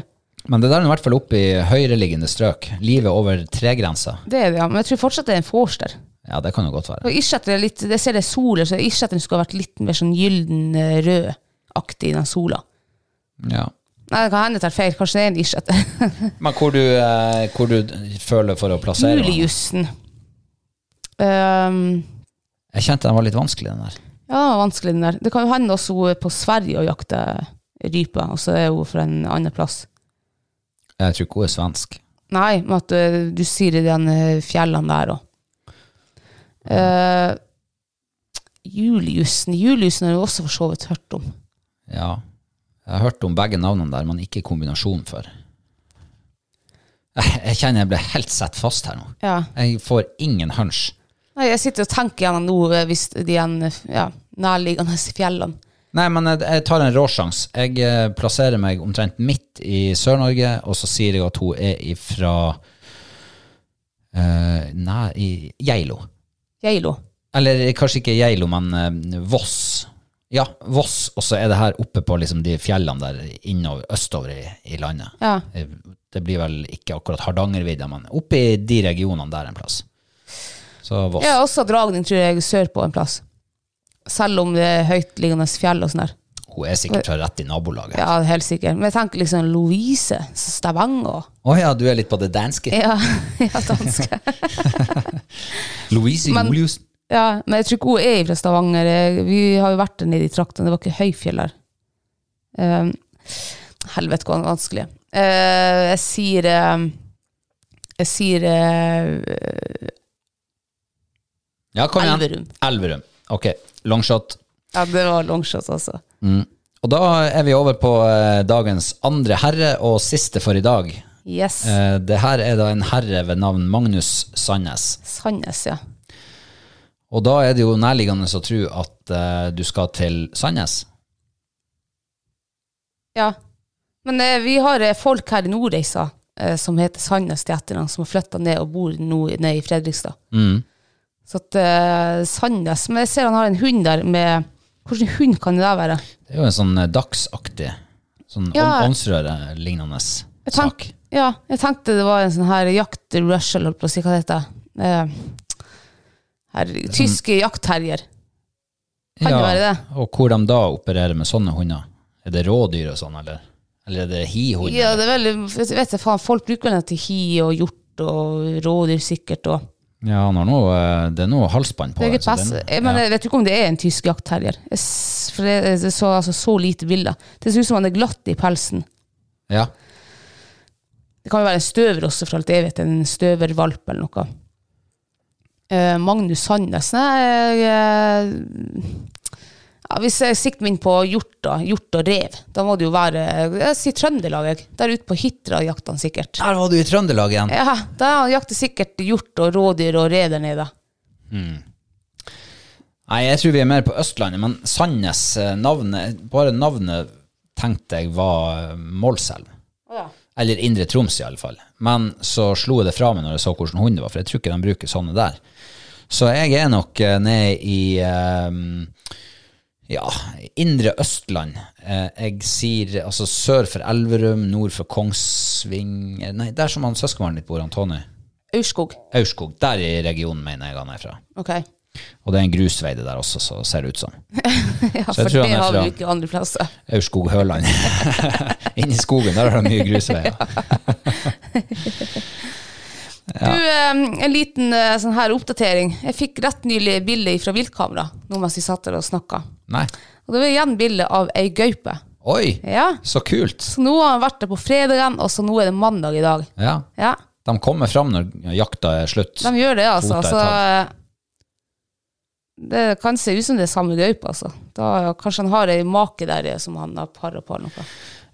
S1: Men det der er i hvert fall oppe i høyereliggende strøk. Livet over tregrensa.
S2: Det er det, ja. Men jeg tror fortsatt det er en forster.
S1: Ja, det kan jo godt være.
S2: Og isjetter er litt, jeg ser det er soler, så isjetteren skulle ha vært litt mer sånn gylden eh, rød-aktig i den sola.
S1: Ja.
S2: Nei, det kan hende jeg tar feil. Kanskje det er en isjetter.
S1: Men hvor du, eh, hvor du føler for å plassere den?
S2: Juliussen. Um,
S1: Jeg kjente den var litt vanskelig, den der.
S2: ja, det var vanskelig den der. Det kan jo hende også hun er på Sverige og jakter rype, og så er hun fra en annen plass.
S1: Jeg tror ikke hun er svensk.
S2: Nei, men at eh, du sier i den eh, fjellene der Eh, òg. Juliussen Juliussen har jeg også for så vidt hørt om.
S1: Ja. Jeg har hørt om begge navnene der, men ikke kombinasjonen før. Jeg jeg kjenner jeg ble helt satt fast her nå.
S2: Ja.
S1: Jeg får ingen hunch.
S2: Nei, jeg sitter og tenker gjennom nå eh, hvis de er en, eh, ja, nærliggende i fjellene.
S1: Nei, men jeg, jeg tar en råsjans. Jeg eh, plasserer meg omtrent midt i Sør-Norge, og så sier jeg at hun er ifra eh, Nei, i Geilo.
S2: Geilo.
S1: Eller eh, kanskje ikke Geilo, men eh, Voss. Ja, Voss, og så er det her oppe på liksom, de fjellene der innover, østover i, i landet.
S2: Ja.
S1: Eh, Det blir vel ikke akkurat Hardangervidda, men oppe i de regionene der en plass. Så Voss.
S2: Jeg har også dragning, tror jeg, sørpå en plass. Selv om det er høytliggende fjell og sånn der.
S1: Hun er sikkert fra rett i nabolaget. Å ja.
S2: Ja, helt sikkert. Men jeg tenker liksom Louise, Stavanger.
S1: du er litt på det danske.
S2: Ja, ja danske.
S1: Louise
S2: Men-
S1: Julius.
S2: Ja, men jeg tror ikke hun er fra Stavanger. Jeg- Vi har jo vært der nede i traktene, det var ikke høyfjell der. Um, helvete, hvor vanskelig. Eh, jeg sier eh, Jeg sier eh,
S1: Ja, kom igjen.
S2: Elverum.
S1: Elverum. Ok, longshot.
S2: Ja, det var longshot, altså.
S1: Og da er vi over på eh, dagens andre herre og siste for i dag.
S2: Yes.
S1: Eh, det her er da en herre ved navn Magnus Sandnes.
S2: Sandnes, ja.
S1: Og da er det jo nærliggende å tro at eh, du skal til Sandnes.
S2: Ja. Men eh, vi har eh, folk her i Nordreisa eh, som heter Sandnes til etternavn, som har flytta ned og bor nå nede i Fredrikstad.
S1: Mm.
S2: Så at eh, Sandnes Men jeg ser han har en hund der med Hvilken hund kan det der være?
S1: Det er jo en sånn eh, dagsaktig, sånn
S2: Ja.
S1: ånd- åndsrøre-lignende sak.
S2: Jeg tenk- Ja, jeg tenkte det var en sånn her jakt russell, holdt på å si hva det heter. Eh, herregud,
S1: sånn-
S2: tyske jaktterrier. Kan det være det?
S1: Og hvor de da opererer med sånne hunder. Er det rådyr og sånn, eller? Eller er det hihund?
S2: Ja, det er veldig, vet vet jeg faen, folk bruker den til hi og hjort og rådyr sikkert. Og.
S1: Ja, han har noe, eh, det er noe halsbånd på
S2: Det er ikke
S1: så
S2: pass.
S1: den-
S2: Jeg, men jeg vet ikke om det er en tysk jaktterrier. Jeg s- For det, jeg så altså så lite bilder. Det ser ut som han er glatt i pelsen.
S1: ja.
S2: Det kan jo være en støver også, for alt jeg vet. En støvervalp eller noe. Eh, Magnus Sandnes Nei, jeg, ja, hvis jeg sikter meg inn på hjort, da, hjort og rev, da må det jo være Jeg sier Trøndelag, jeg. Der ute på Hitra jakter han sikkert.
S1: Der var du i Trøndelag igjen.
S2: Ja, da jakter sikkert hjort og rådyr og rev der nede.
S1: Nei, jeg tror vi er mer på Østlandet, men Sandnes, eh, navnet, bare navnet tenkte jeg var eh, Målselv. Eller Indre Troms i alle fall. Men så slo jeg det fra meg når jeg så hvordan hund det var, for jeg tror ikke de bruker sånne der. Så jeg er nok eh, nede i eh, ja, indre Østland. Eh, jeg sier altså sør for Elverum, nord for Kongsving Nei, der som han søskenbarnet ditt bor, han Tony.
S2: Aurskog.
S1: Aurskog. Der i regionen mener jeg han er fra.
S2: Ok.
S1: Og det er en grusvei det der også, så ser det ut som.
S2: Ja,
S1: Så jeg
S2: for
S1: tror han
S2: det
S1: er
S2: har vi
S1: fra-
S2: jo ikke andre plasser.
S1: Aurskog-Høland. Inni skogen, der har de mye grusveier.
S2: Du, eh, en liten eh, sånn her oppdatering. Jeg fikk rett nylig bilde fra viltkamera nå mens vi satt der og snakka.
S1: Nei.
S2: Og det var igjen bilde av ei gaupe.
S1: Oi,
S2: Ja.
S1: så kult.
S2: Så nå har han vært der på fredagen, og så nå er det mandag i dag.
S1: Ja.
S2: Ja,
S1: De kommer fram når jakta er slutt.
S2: de gjør det, altså.
S1: Kvota er
S2: Så, eh, det kan se ut som det er samme gaupe, altså. Da, kanskje han har ei make der eh, som han har para på eller noe.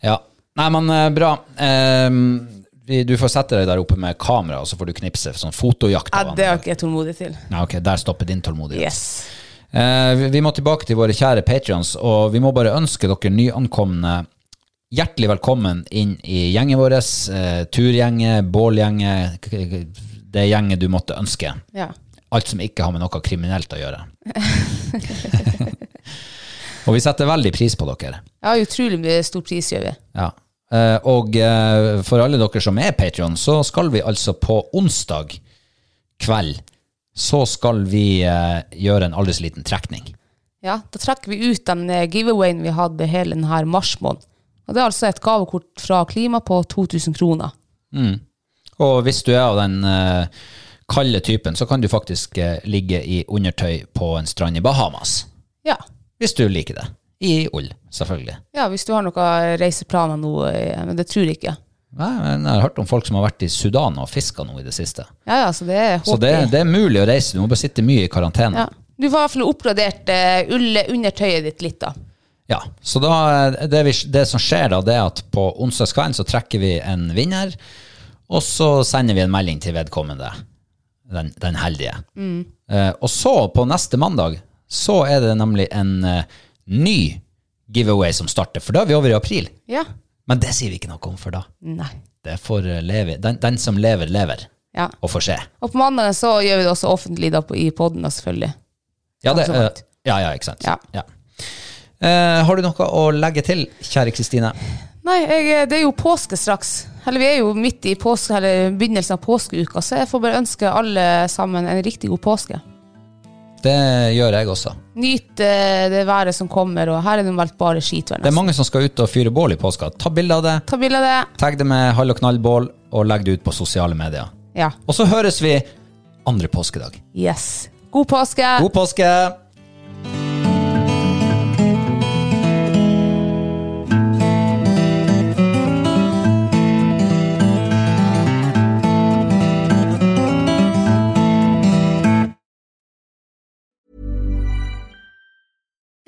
S1: Ja. Nei, men eh, bra. Ehm, vi- du får sette deg der oppe med kamera, og så får du knipse sånn fotojakt. av
S2: Ja, det har
S1: han.
S2: ikke jeg tålmodighet til.
S1: Ja, ok, Der stopper din tålmodighet.
S2: Yes.
S1: Eh, vi, vi må tilbake til våre kjære patrions, og vi må bare ønske dere nyankomne hjertelig velkommen inn i gjengen vår. Eh, turgjenge, bålgjenge, k- k- det gjenget du måtte ønske.
S2: Ja.
S1: Alt som ikke har med noe kriminelt å gjøre. og vi setter veldig pris på dere.
S2: ja, utrolig mye stor pris gjør vi.
S1: Ja. Eh, og eh, for alle dere som er Patreon, så skal vi altså på onsdag kveld så skal vi eh, gjøre en aldri så liten trekning.
S2: Ja, da trekker vi ut den eh, giveawayen vi hadde hele denne marsmåneden. Og det er altså et gavekort fra Klima på 2000 kroner.
S1: Og hvis du er av den eh, kalde typen, så kan du faktisk eh, ligge i undertøy på en strand i Bahamas.
S2: Ja.
S1: Hvis du liker det. I ull, selvfølgelig.
S2: ja, hvis du har noen reiseplaner nå, eh, men det tror jeg ikke.
S1: Nei, men jeg har hørt om folk som har vært i Sudan og fiska nå i det siste.
S2: Ja, ja, så det er
S1: Så det, det er mulig å reise. Du må bare sitte mye i karantene.
S2: Ja. Du får i hvert fall oppgradert uh, undertøyet ditt litt, da.
S1: Ja, så da, det, vi, det som skjer da, det er at på onsdagskvelden så trekker vi en vinner, og så sender vi en melding til vedkommende, den, den heldige. Eh, og så, på neste mandag, så er det nemlig en eh, ny giveaway som starter, for da er vi over i april.
S2: Ja.
S1: Men det sier vi ikke noe om, for da.
S2: Nei.
S1: Det får eh, leve, den, den som lever, lever,
S2: Ja.
S1: og får se.
S2: Og på mandagen så gjør vi det også offentlig da, på, i poden, selvfølgelig.
S1: Ja, det,
S2: Takk så langt.
S1: eh, ja, ja, ikke sant?
S2: Ja.
S1: Eh, har du noe å legge til, kjære Kristine?
S2: Nei, jeg, eh, det er jo påske straks. Eller vi er jo midt i påske, eller begynnelsen av påskeuka, så jeg får bare ønske alle sammen en riktig god påske.
S1: Det gjør jeg også.
S2: Nyt eh, det været som kommer, og her er det meldt bare skitvær.
S1: Det er
S2: nesten.
S1: mange som skal ut og fyre bål i påska. Ta bilde av det,
S2: Ta bilde av det.
S1: tagg det med hall og knallbål, og legg det ut på sosiale medier.
S2: Ja.
S1: Og så høres vi andre påskedag.
S2: Yes. God påske.
S1: God påske!